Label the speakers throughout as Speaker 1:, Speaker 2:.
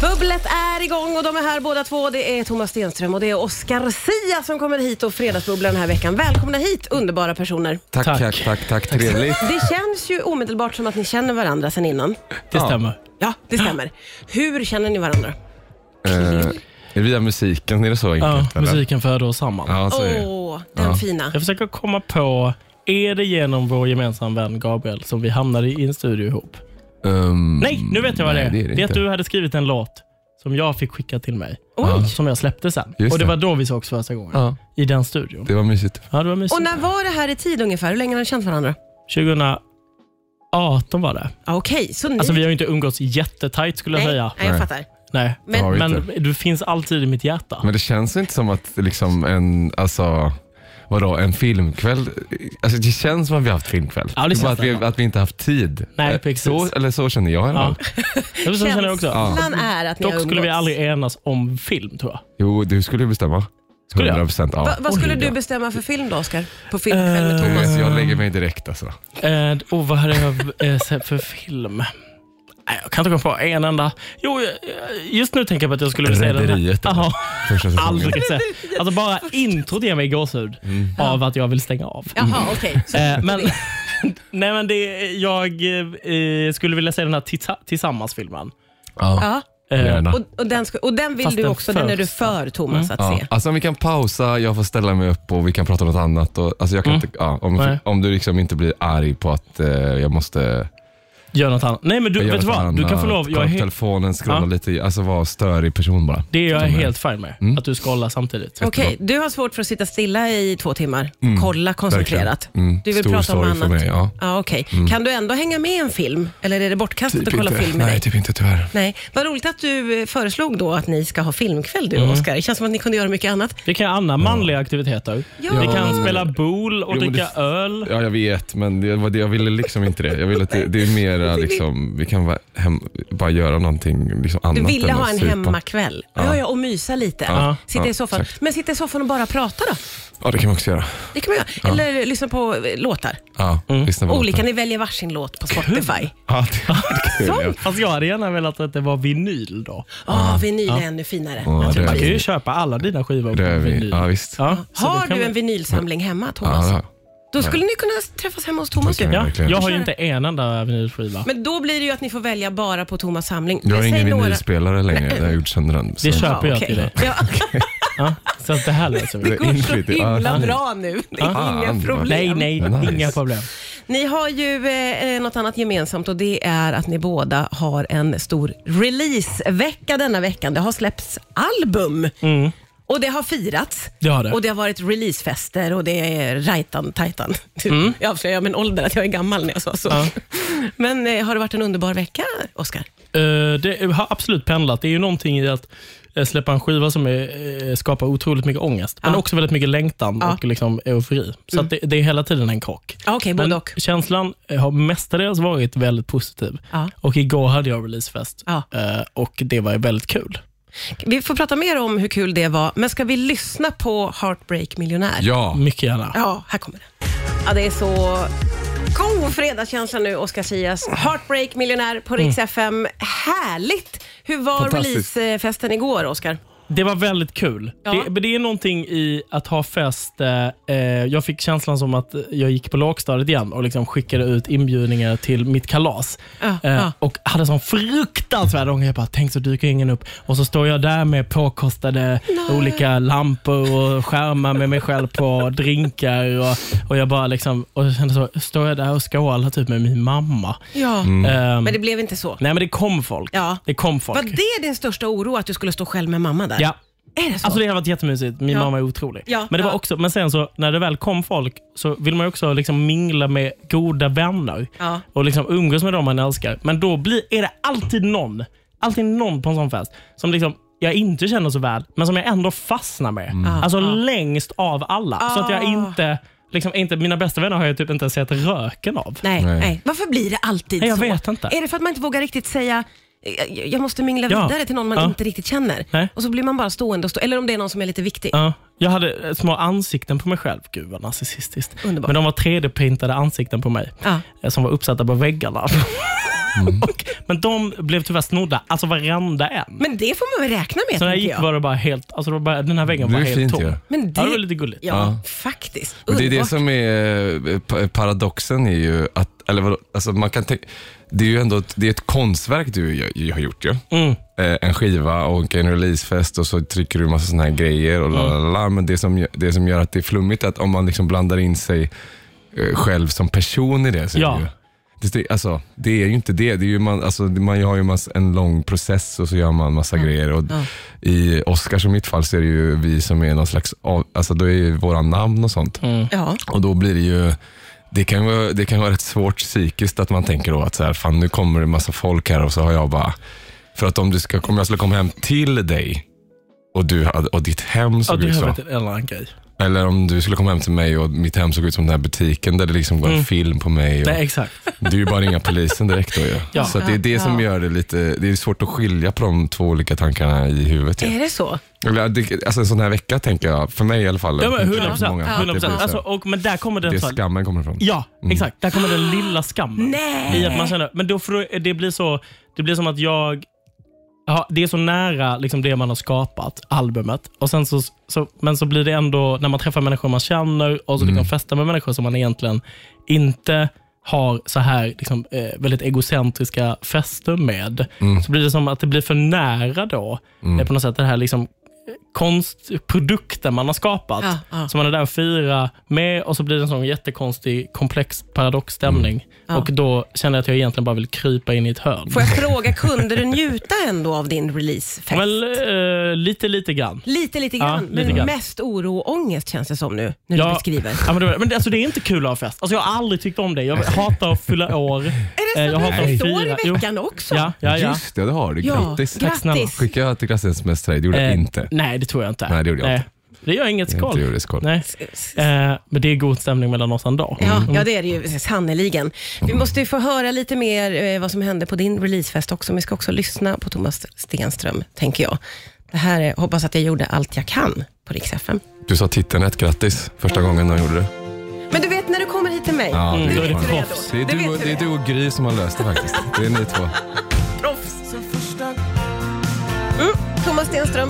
Speaker 1: Bubblet är igång och de är här båda två. Det är Thomas Stenström och det är Oscar Sia som kommer hit och fredagsbubblar den här veckan. Välkomna hit underbara personer.
Speaker 2: Tack,
Speaker 3: Tack.
Speaker 2: tack, tack, tack, trevligt.
Speaker 1: Det känns ju omedelbart som att ni känner varandra sedan innan.
Speaker 3: Det
Speaker 2: Ja.
Speaker 3: stämmer.
Speaker 1: Ja, det stämmer. Hur känner ni varandra?
Speaker 2: Eh, är det via musiken, är det så
Speaker 3: Ja,
Speaker 2: enkelt? eller?
Speaker 3: musiken föder oss samman.
Speaker 2: Ja, så
Speaker 1: Åh,
Speaker 2: är det.
Speaker 1: den
Speaker 2: Ja.
Speaker 1: fina.
Speaker 3: Jag försöker komma på, är det genom vår gemensamma vän Gabriel som vi hamnade i en studio ihop?
Speaker 2: Ehm,
Speaker 3: Nej, nu vet jag vad
Speaker 2: nej,
Speaker 3: det är. Det, är
Speaker 2: inte.
Speaker 3: att du hade skrivit en låt som jag fick skicka till mig.
Speaker 1: Oj.
Speaker 3: Som jag släppte sen.
Speaker 2: Just
Speaker 3: och det,
Speaker 2: det.
Speaker 3: var då vi sågs första gången.
Speaker 2: Ja,
Speaker 3: I den studion.
Speaker 2: det var mysigt.
Speaker 3: Ja, det var mysigt.
Speaker 1: Och när var det här i tid ungefär? Hur länge har ni känt varandra?
Speaker 3: 2018 var det.
Speaker 1: Ja, Okej, så ni...
Speaker 3: Alltså vi har ju inte umgåtts jättetajt skulle jag
Speaker 1: Mm. nej,
Speaker 3: säga.
Speaker 1: nej, jag
Speaker 2: Nej.
Speaker 1: fattar.
Speaker 3: Nej.
Speaker 1: Men-
Speaker 2: Det har vi
Speaker 3: Men
Speaker 2: inte.
Speaker 3: du finns alltid i mitt hjärta.
Speaker 2: Men det känns inte som att liksom en, alltså, vadå, en filmkväll, alltså det känns som att vi har haft filmkväll.
Speaker 3: Ja, det
Speaker 2: är
Speaker 3: känns
Speaker 2: bara att vi,
Speaker 3: det.
Speaker 2: att vi inte haft tid.
Speaker 3: Nej,
Speaker 2: Eh,
Speaker 3: precis.
Speaker 2: Så, eller så känner jag i alla
Speaker 3: ja.
Speaker 2: fall.
Speaker 3: Så känner jag också.
Speaker 1: Känslan är att ni har
Speaker 3: Dock skulle vi
Speaker 1: umgåtts.
Speaker 3: aldrig enas om film tror jag.
Speaker 2: Jo, du skulle ju bestämma.
Speaker 3: Skulle jag?
Speaker 2: 100 procent. Ja.
Speaker 1: Va, vad skulle
Speaker 3: Oj,
Speaker 1: du
Speaker 3: ja.
Speaker 1: bestämma för film då, Oscar? På filmkväll med
Speaker 3: Eh,
Speaker 2: Du
Speaker 1: Thomas?
Speaker 2: vet, jag lägger mig direkt alltså.
Speaker 3: Eh, och vad hade jag eh, sett för film? Nej, jag kan inte komma på en enda. Jo, eh, just nu tänker jag på att jag skulle vilja säga den här.
Speaker 2: Rederiet, eller?
Speaker 3: Jaha,
Speaker 2: Första säsongen.
Speaker 3: aldrig sett. Alltså bara introt ger mig gåshud
Speaker 2: Mm.
Speaker 3: av att jag vill stänga av.
Speaker 1: Jaha, okej. Så-
Speaker 3: Eh, men, nej, men det, jag eh, skulle vilja säga den här tita- Tillsammans-filmen.
Speaker 2: Ja,
Speaker 1: Ja.
Speaker 3: Eh,
Speaker 2: gärna.
Speaker 1: Och, och, den, ska, och den vill
Speaker 3: Fast
Speaker 1: du
Speaker 3: den
Speaker 1: också, den är du för Thomas att
Speaker 2: Ja.
Speaker 1: se.
Speaker 2: Alltså om vi kan pausa, jag får ställa mig upp och vi kan prata om något annat. Och, alltså jag kan inte, ja, om,
Speaker 3: Mm. Nej.
Speaker 2: om du liksom inte blir arg på att eh, jag måste
Speaker 3: Gör något annat. Nej, men du,
Speaker 2: göra
Speaker 3: vet du
Speaker 2: något
Speaker 3: vad? Du kan få
Speaker 2: annat,
Speaker 3: lov.
Speaker 2: kolla
Speaker 3: Jag är
Speaker 2: på
Speaker 3: he-
Speaker 2: telefonen, scrolla
Speaker 3: Ja.
Speaker 2: lite, alltså vara en störig person bara.
Speaker 3: det är jag
Speaker 2: Som är-
Speaker 3: helt fine med.
Speaker 2: Mm.
Speaker 3: Att du scrollar samtidigt.
Speaker 1: Okej, du har svårt för att sitta stilla i två timmar. Kolla koncentrerat.
Speaker 2: Mm, Verkligen. Mm.
Speaker 1: Du vill
Speaker 2: Stor
Speaker 1: prata om
Speaker 2: sorg
Speaker 1: annat.
Speaker 2: för mig, ja.
Speaker 1: okej. Kan du ändå hänga med i en film? Eller är det bortkastat att kolla
Speaker 2: inte.
Speaker 1: film med
Speaker 2: Nej,
Speaker 1: dig?
Speaker 2: Mm. typ inte tyvärr.
Speaker 1: Nej. Vad roligt att du eh, föreslog då att ni ska ha filmkväll du och
Speaker 2: Mm.
Speaker 1: Oscar. Det känns som att ni kunde göra mycket annat. Mm.
Speaker 3: Vi kan göra andra manliga aktiviteter.
Speaker 1: Ja.
Speaker 3: Vi kan spela boule och
Speaker 2: Jo, men
Speaker 3: dricka
Speaker 2: det-
Speaker 3: öl.
Speaker 2: Ja, jag vet, men det var det, jag ville liksom inte det. Jag ville att det, det är mera liksom, vi kan vara hem, bara göra någonting liksom annat.
Speaker 1: Du ville
Speaker 2: än
Speaker 1: ha
Speaker 2: att
Speaker 1: en
Speaker 2: supa.
Speaker 1: hemmakväll. Ja. Ja, och mysa lite.
Speaker 2: Ja.
Speaker 1: Sitta
Speaker 2: Ja,
Speaker 1: i soffan.
Speaker 2: exakt.
Speaker 1: Men sitta i soffan och bara prata då.
Speaker 2: Ja, det kan man också göra.
Speaker 1: Det kan man göra. Eller lyssna på eh, låtar.
Speaker 2: Ja,
Speaker 3: Mm.
Speaker 2: lyssna på
Speaker 1: Olika,
Speaker 2: låtar.
Speaker 1: ni väljer varsin låt på Spotify.
Speaker 2: Ja, det är kul. ja.
Speaker 3: Fast Alltså, jag hade gärna velat att det var vinyl då. Alltså,
Speaker 1: Ja, vinyl är ännu finare.
Speaker 2: Ja, det är
Speaker 3: Man kan ju
Speaker 2: vi.
Speaker 3: köpa alla dina skivor på
Speaker 2: Det är vi.
Speaker 3: vinyl.
Speaker 2: Ja, visst.
Speaker 3: Ja, alltså, så
Speaker 1: Har
Speaker 3: det kan
Speaker 1: du
Speaker 3: vi-
Speaker 1: en vinylsamling hemma, Thomas?
Speaker 2: Ja, ja.
Speaker 1: Då skulle ni kunna träffas hemma hos Thomas.
Speaker 2: Det
Speaker 1: Ju.
Speaker 2: kan vi.
Speaker 3: Ja,
Speaker 2: Verkligen.
Speaker 3: jag har ju inte en enda vinylskiva.
Speaker 1: Men då blir det ju att ni får välja bara på Thomas samling.
Speaker 2: Jag har
Speaker 1: Säg
Speaker 2: ingen
Speaker 1: några-
Speaker 2: vinylspelare längre. Jag har gjort sönder den.
Speaker 3: Det
Speaker 1: Ja,
Speaker 3: köper jag
Speaker 1: okej.
Speaker 3: till dig.
Speaker 1: Ja,
Speaker 3: Ja, så att det här löser
Speaker 2: Det
Speaker 3: vi.
Speaker 1: det går så
Speaker 2: inflytande. Ja,
Speaker 1: himla
Speaker 2: fan.
Speaker 1: bra nu. Det är
Speaker 2: Ah,
Speaker 1: inga
Speaker 2: fan, vad-
Speaker 1: problem.
Speaker 3: Nej, nej,
Speaker 2: Nice.
Speaker 3: inga problem.
Speaker 1: Ni har ju eh, något annat gemensamt och det är att ni båda har en stor releasevecka denna veckan. Det har släppts album. Och det har firats.
Speaker 3: Mm. Det har det.
Speaker 1: Och det har varit releasefester och det är rajtan tajtan.
Speaker 3: Mm.
Speaker 1: Jag avslöjar min ålder, att jag är gammal när jag sa så. Men eh, har det varit en underbar vecka, Oscar?
Speaker 3: Eh, det har absolut pendlat. Det är ju någonting i att eh, släppa en skiva som är, eh, skapar otroligt mycket ångest, men
Speaker 1: Ja.
Speaker 3: också väldigt mycket längtan
Speaker 1: Ja. Mm.
Speaker 3: och liksom eufori. Så att det, det är hela tiden en krock.
Speaker 1: Ja, okej, både
Speaker 3: men
Speaker 1: och.
Speaker 3: känslan eh, har mestadels varit väldigt positiv.
Speaker 1: Ja.
Speaker 3: Och Igår hade jag releasefest
Speaker 1: Ja.
Speaker 3: eh, och det var ju väldigt kul.
Speaker 1: Vi får prata mer om hur kul det var, men ska vi lyssna på Heartbreak Millionär?
Speaker 2: Ja.
Speaker 3: Mycket gärna.
Speaker 1: Ja, här kommer den. Ja, det är så god fredagskänsla nu, Oscar Sias. Heartbreak miljonär på Rix
Speaker 3: Mm.
Speaker 1: FM. Härligt! Hur var
Speaker 2: Fantastiskt.
Speaker 1: releasefesten igår, Oscar?
Speaker 3: Det var väldigt kul.
Speaker 1: Ja.
Speaker 3: Det, men det är någonting i att ha fest. Eh, eh, jag fick känslan som att jag gick på lågstadiet igen och liksom skickade ut inbjudningar till mitt kalas.
Speaker 1: Ja,
Speaker 3: eh,
Speaker 1: ja.
Speaker 3: Och hade sån fruktansvärd ångest. Jag bara, tänk så dyker ingen upp. Och så står jag där med påkostade olika lampor och skärmar med mig själv på drinkar. Och, och jag bara liksom, och jag kände så, står jag där och skålar typ med min mamma.
Speaker 1: Ja,
Speaker 3: Eh,
Speaker 1: men det blev inte så.
Speaker 3: Nej men det kom folk.
Speaker 1: Ja.
Speaker 3: Det kom folk.
Speaker 1: Var det din största oro, att du skulle stå själv med mamma där?
Speaker 3: Ja.
Speaker 1: Är det så?
Speaker 3: Alltså det har varit jättemysigt. Min
Speaker 1: Ja.
Speaker 3: mamma är otrolig.
Speaker 1: Ja,
Speaker 3: men, det var
Speaker 1: ja.
Speaker 3: också, men sen så när det väl kom folk så vill man ju också liksom mingla med goda vänner
Speaker 1: Ja.
Speaker 3: och liksom umgås med dem man älskar. Men då blir, är det alltid någon, alltid någon på en sån fest som liksom jag inte känner så väl, men som jag ändå fastnar med.
Speaker 1: Mm.
Speaker 3: Alltså längst av alla. Så att
Speaker 1: Ah.
Speaker 3: jag inte, liksom, inte, mina bästa vänner har jag typ inte sett röken av.
Speaker 1: nej, nej.
Speaker 2: Nej.
Speaker 1: Varför blir det alltid
Speaker 3: Nej, jag
Speaker 1: så?
Speaker 3: vet inte.
Speaker 1: Är det för att man inte vågar riktigt säga "Jag- jag måste mingla
Speaker 3: Ja.
Speaker 1: vidare till någon man
Speaker 3: Ja.
Speaker 1: inte riktigt känner.
Speaker 3: Nej.
Speaker 1: Och så blir man bara stående och stå, eller om det är någon som är lite viktig.
Speaker 3: Ja, jag hade eh, små ansikten på mig själv. Gud vad narcissistiskt.
Speaker 1: Underbart.
Speaker 3: Men de var 3D-printade ansikten på mig
Speaker 1: Ja.
Speaker 3: eh, som var uppsatta på väggarna.
Speaker 1: Mm.
Speaker 3: Och, men de blev tyvärr snodda, alltså varenda en.
Speaker 1: Men det får man väl räkna med,
Speaker 3: Så när jag
Speaker 1: tänker
Speaker 3: gick
Speaker 1: jag.
Speaker 3: var det bara helt, alltså det var bara, den här väggen
Speaker 2: Det
Speaker 3: var
Speaker 2: är
Speaker 3: helt
Speaker 2: fint
Speaker 3: tom.
Speaker 2: ju.
Speaker 1: Men
Speaker 3: Ja, det var lite gulligt.
Speaker 1: Ja,
Speaker 2: Ja.
Speaker 1: faktiskt.
Speaker 2: Men det är det
Speaker 1: Underbart.
Speaker 2: som är eh, pa- paradoxen är ju att, eller vadå, alltså man kan tänka, det är ju ändå ett, det är ett konstverk du gör- har gjort ju.
Speaker 3: Mm.
Speaker 2: Eh, En skiva och en releasefest och så trycker du massa såna här grejer och la, la, la. Men det som, gö- det som gör att det är flummigt är att om man liksom blandar in sig eh, själv som person i det så
Speaker 3: Ja.
Speaker 2: är det ju, det, det- alltså, det är ju inte det. det är ju man, alltså, det- man har ju mass, en lång process och så gör man massa grejer. Och I Oscars och mitt fall så är det ju vi som är någon slags, av, alltså då är ju våra namn och sånt.
Speaker 1: Ja.
Speaker 2: Och då blir det ju det kan, vara, det kan vara rätt svårt psykiskt att man tänker då att så här, fan nu kommer det en massa folk här och så har jag bara, för att om, du ska, om jag skulle komma hem till dig och, du, hade- och ditt hem
Speaker 3: Ja,
Speaker 2: såg
Speaker 3: det
Speaker 2: ut
Speaker 3: har
Speaker 2: så.
Speaker 3: varit en eller annan grej.
Speaker 2: Eller om du skulle komma hem till mig och mitt hem såg ut som den här butiken där det liksom går en film på mig. Och,
Speaker 3: Mm. Nej, exakt.
Speaker 2: det är ju bara att ringa polisen direkt då ju.
Speaker 3: Ja.
Speaker 2: Så att det är det som gör det lite, det är svårt att skilja på de två olika tankarna i huvudet ju.
Speaker 1: Är det så?
Speaker 2: Eller, det- Alltså en sån här vecka tänker jag, för mig i alla fall.
Speaker 3: Ja, men
Speaker 2: Inte för
Speaker 3: 100 procent.
Speaker 2: många, att det blir så här,
Speaker 3: Alltså, och, men där kommer
Speaker 2: det
Speaker 3: den...
Speaker 2: är Mm.
Speaker 3: så-
Speaker 2: skammen kommer ifrån.
Speaker 3: Ja, exakt. Där kommer den lilla skammen.
Speaker 1: Nej.
Speaker 3: I att man känner, men då får, det, blir så, det blir som att jag... Ja, det är så nära liksom, det man har skapat, albumet. Och sen så, så, men så blir det ändå, när man träffar människor man känner och så liksom festar med människor som man egentligen inte har så här liksom, eh, väldigt egocentriska fester med, så blir det som att det blir för nära då. Eh, på något sätt det här liksom, eh, konstprodukten man har skapat.
Speaker 1: Ja, ja.
Speaker 3: Så man är där och firar med och så blir det en sån jättekonstig, komplex paradoxstämning. Och då känner jag att jag egentligen bara vill krypa in i ett hörn.
Speaker 1: Mm. Får jag fråga, kunde du njuta ändå av din releasefest?
Speaker 3: Väl, eh, lite, lite grann.
Speaker 1: Lite, lite
Speaker 3: Ja,
Speaker 1: grann.
Speaker 3: lite
Speaker 1: men
Speaker 3: grann.
Speaker 1: mest oro och ångest känns det som nu, när du beskriver.
Speaker 3: Ja, men det, var- men det- alltså, det är inte kul att ha fest. Alltså, jag har aldrig tyckt om det. Jag hatar att fylla år.
Speaker 1: Är
Speaker 3: Eh,
Speaker 1: det så
Speaker 3: jag
Speaker 1: att
Speaker 3: hatar
Speaker 1: det
Speaker 3: att
Speaker 1: står
Speaker 3: fira.
Speaker 1: i
Speaker 3: Jo.
Speaker 1: veckan också?
Speaker 3: Ja, ja, ja.
Speaker 2: Just det, det har du.
Speaker 1: Ja,
Speaker 2: Grattis.
Speaker 1: grattis.
Speaker 3: snälla.
Speaker 2: Skickade jag till graviditetsmäss till dig? Det gjorde jag
Speaker 3: Eh,
Speaker 2: inte.
Speaker 3: Nej, det tror jag inte.
Speaker 2: Nej, det gjorde jag inte.
Speaker 3: Det gör inget
Speaker 2: Jag
Speaker 3: skål.
Speaker 2: inte gjorde skål.
Speaker 3: Nej. Eh, men det är god stämning mellan oss Mm. ändå.
Speaker 1: Ja,
Speaker 2: mm.
Speaker 1: ja, det är det ju sannerligen. Vi måste ju få höra lite mer eh, vad som hände på din releasefest också. Men Vi ska också lyssna på Thomas Stenström, tänker jag. Det här är Hoppas att jag gjorde allt jag kan på Rix FM.
Speaker 2: Du sa titeln rätt. Grattis. Första gången jag gjorde det.
Speaker 1: Men du vet när du kommer hit till mig.
Speaker 2: Ja,
Speaker 3: Mm,
Speaker 2: det,
Speaker 3: då är
Speaker 2: är
Speaker 3: det
Speaker 2: fan-
Speaker 3: proffs.
Speaker 2: det, är
Speaker 1: Det
Speaker 2: du,
Speaker 1: vet
Speaker 2: och-
Speaker 1: du
Speaker 2: det är du och Gry som har löst det faktiskt. Det är ni två.
Speaker 1: Mm, Thomas Stenström.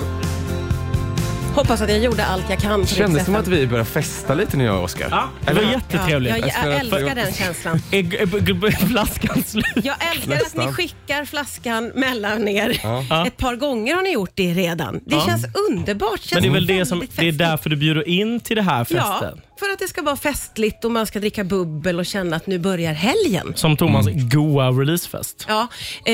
Speaker 1: Hoppas att jag gjorde allt jag kan på Rix
Speaker 2: Kändes som
Speaker 1: FM.
Speaker 2: att vi började festa lite när jag och Oskar.
Speaker 3: Ja, det var jättetrevligt.
Speaker 1: Ja, jag,
Speaker 2: Jag
Speaker 1: jag
Speaker 2: spelar-
Speaker 1: älskar den känslan.
Speaker 3: Är g- är b- g- flaskan slut?
Speaker 1: Jag älskar att ni
Speaker 2: Nästan.
Speaker 1: skickar flaskan mellan er.
Speaker 3: Ja.
Speaker 1: Ett par gånger har ni gjort det redan. Det känns underbart. Känns
Speaker 3: Men det är väl det som,
Speaker 1: väldigt
Speaker 3: det är
Speaker 1: festligt.
Speaker 3: därför du bjuder in till det här
Speaker 1: Ja,
Speaker 3: festen.
Speaker 1: för att det ska vara festligt och man ska dricka bubbel och känna att nu börjar helgen.
Speaker 3: Som Thomas
Speaker 2: Mm.
Speaker 3: goa releasefest.
Speaker 1: Ja, eh,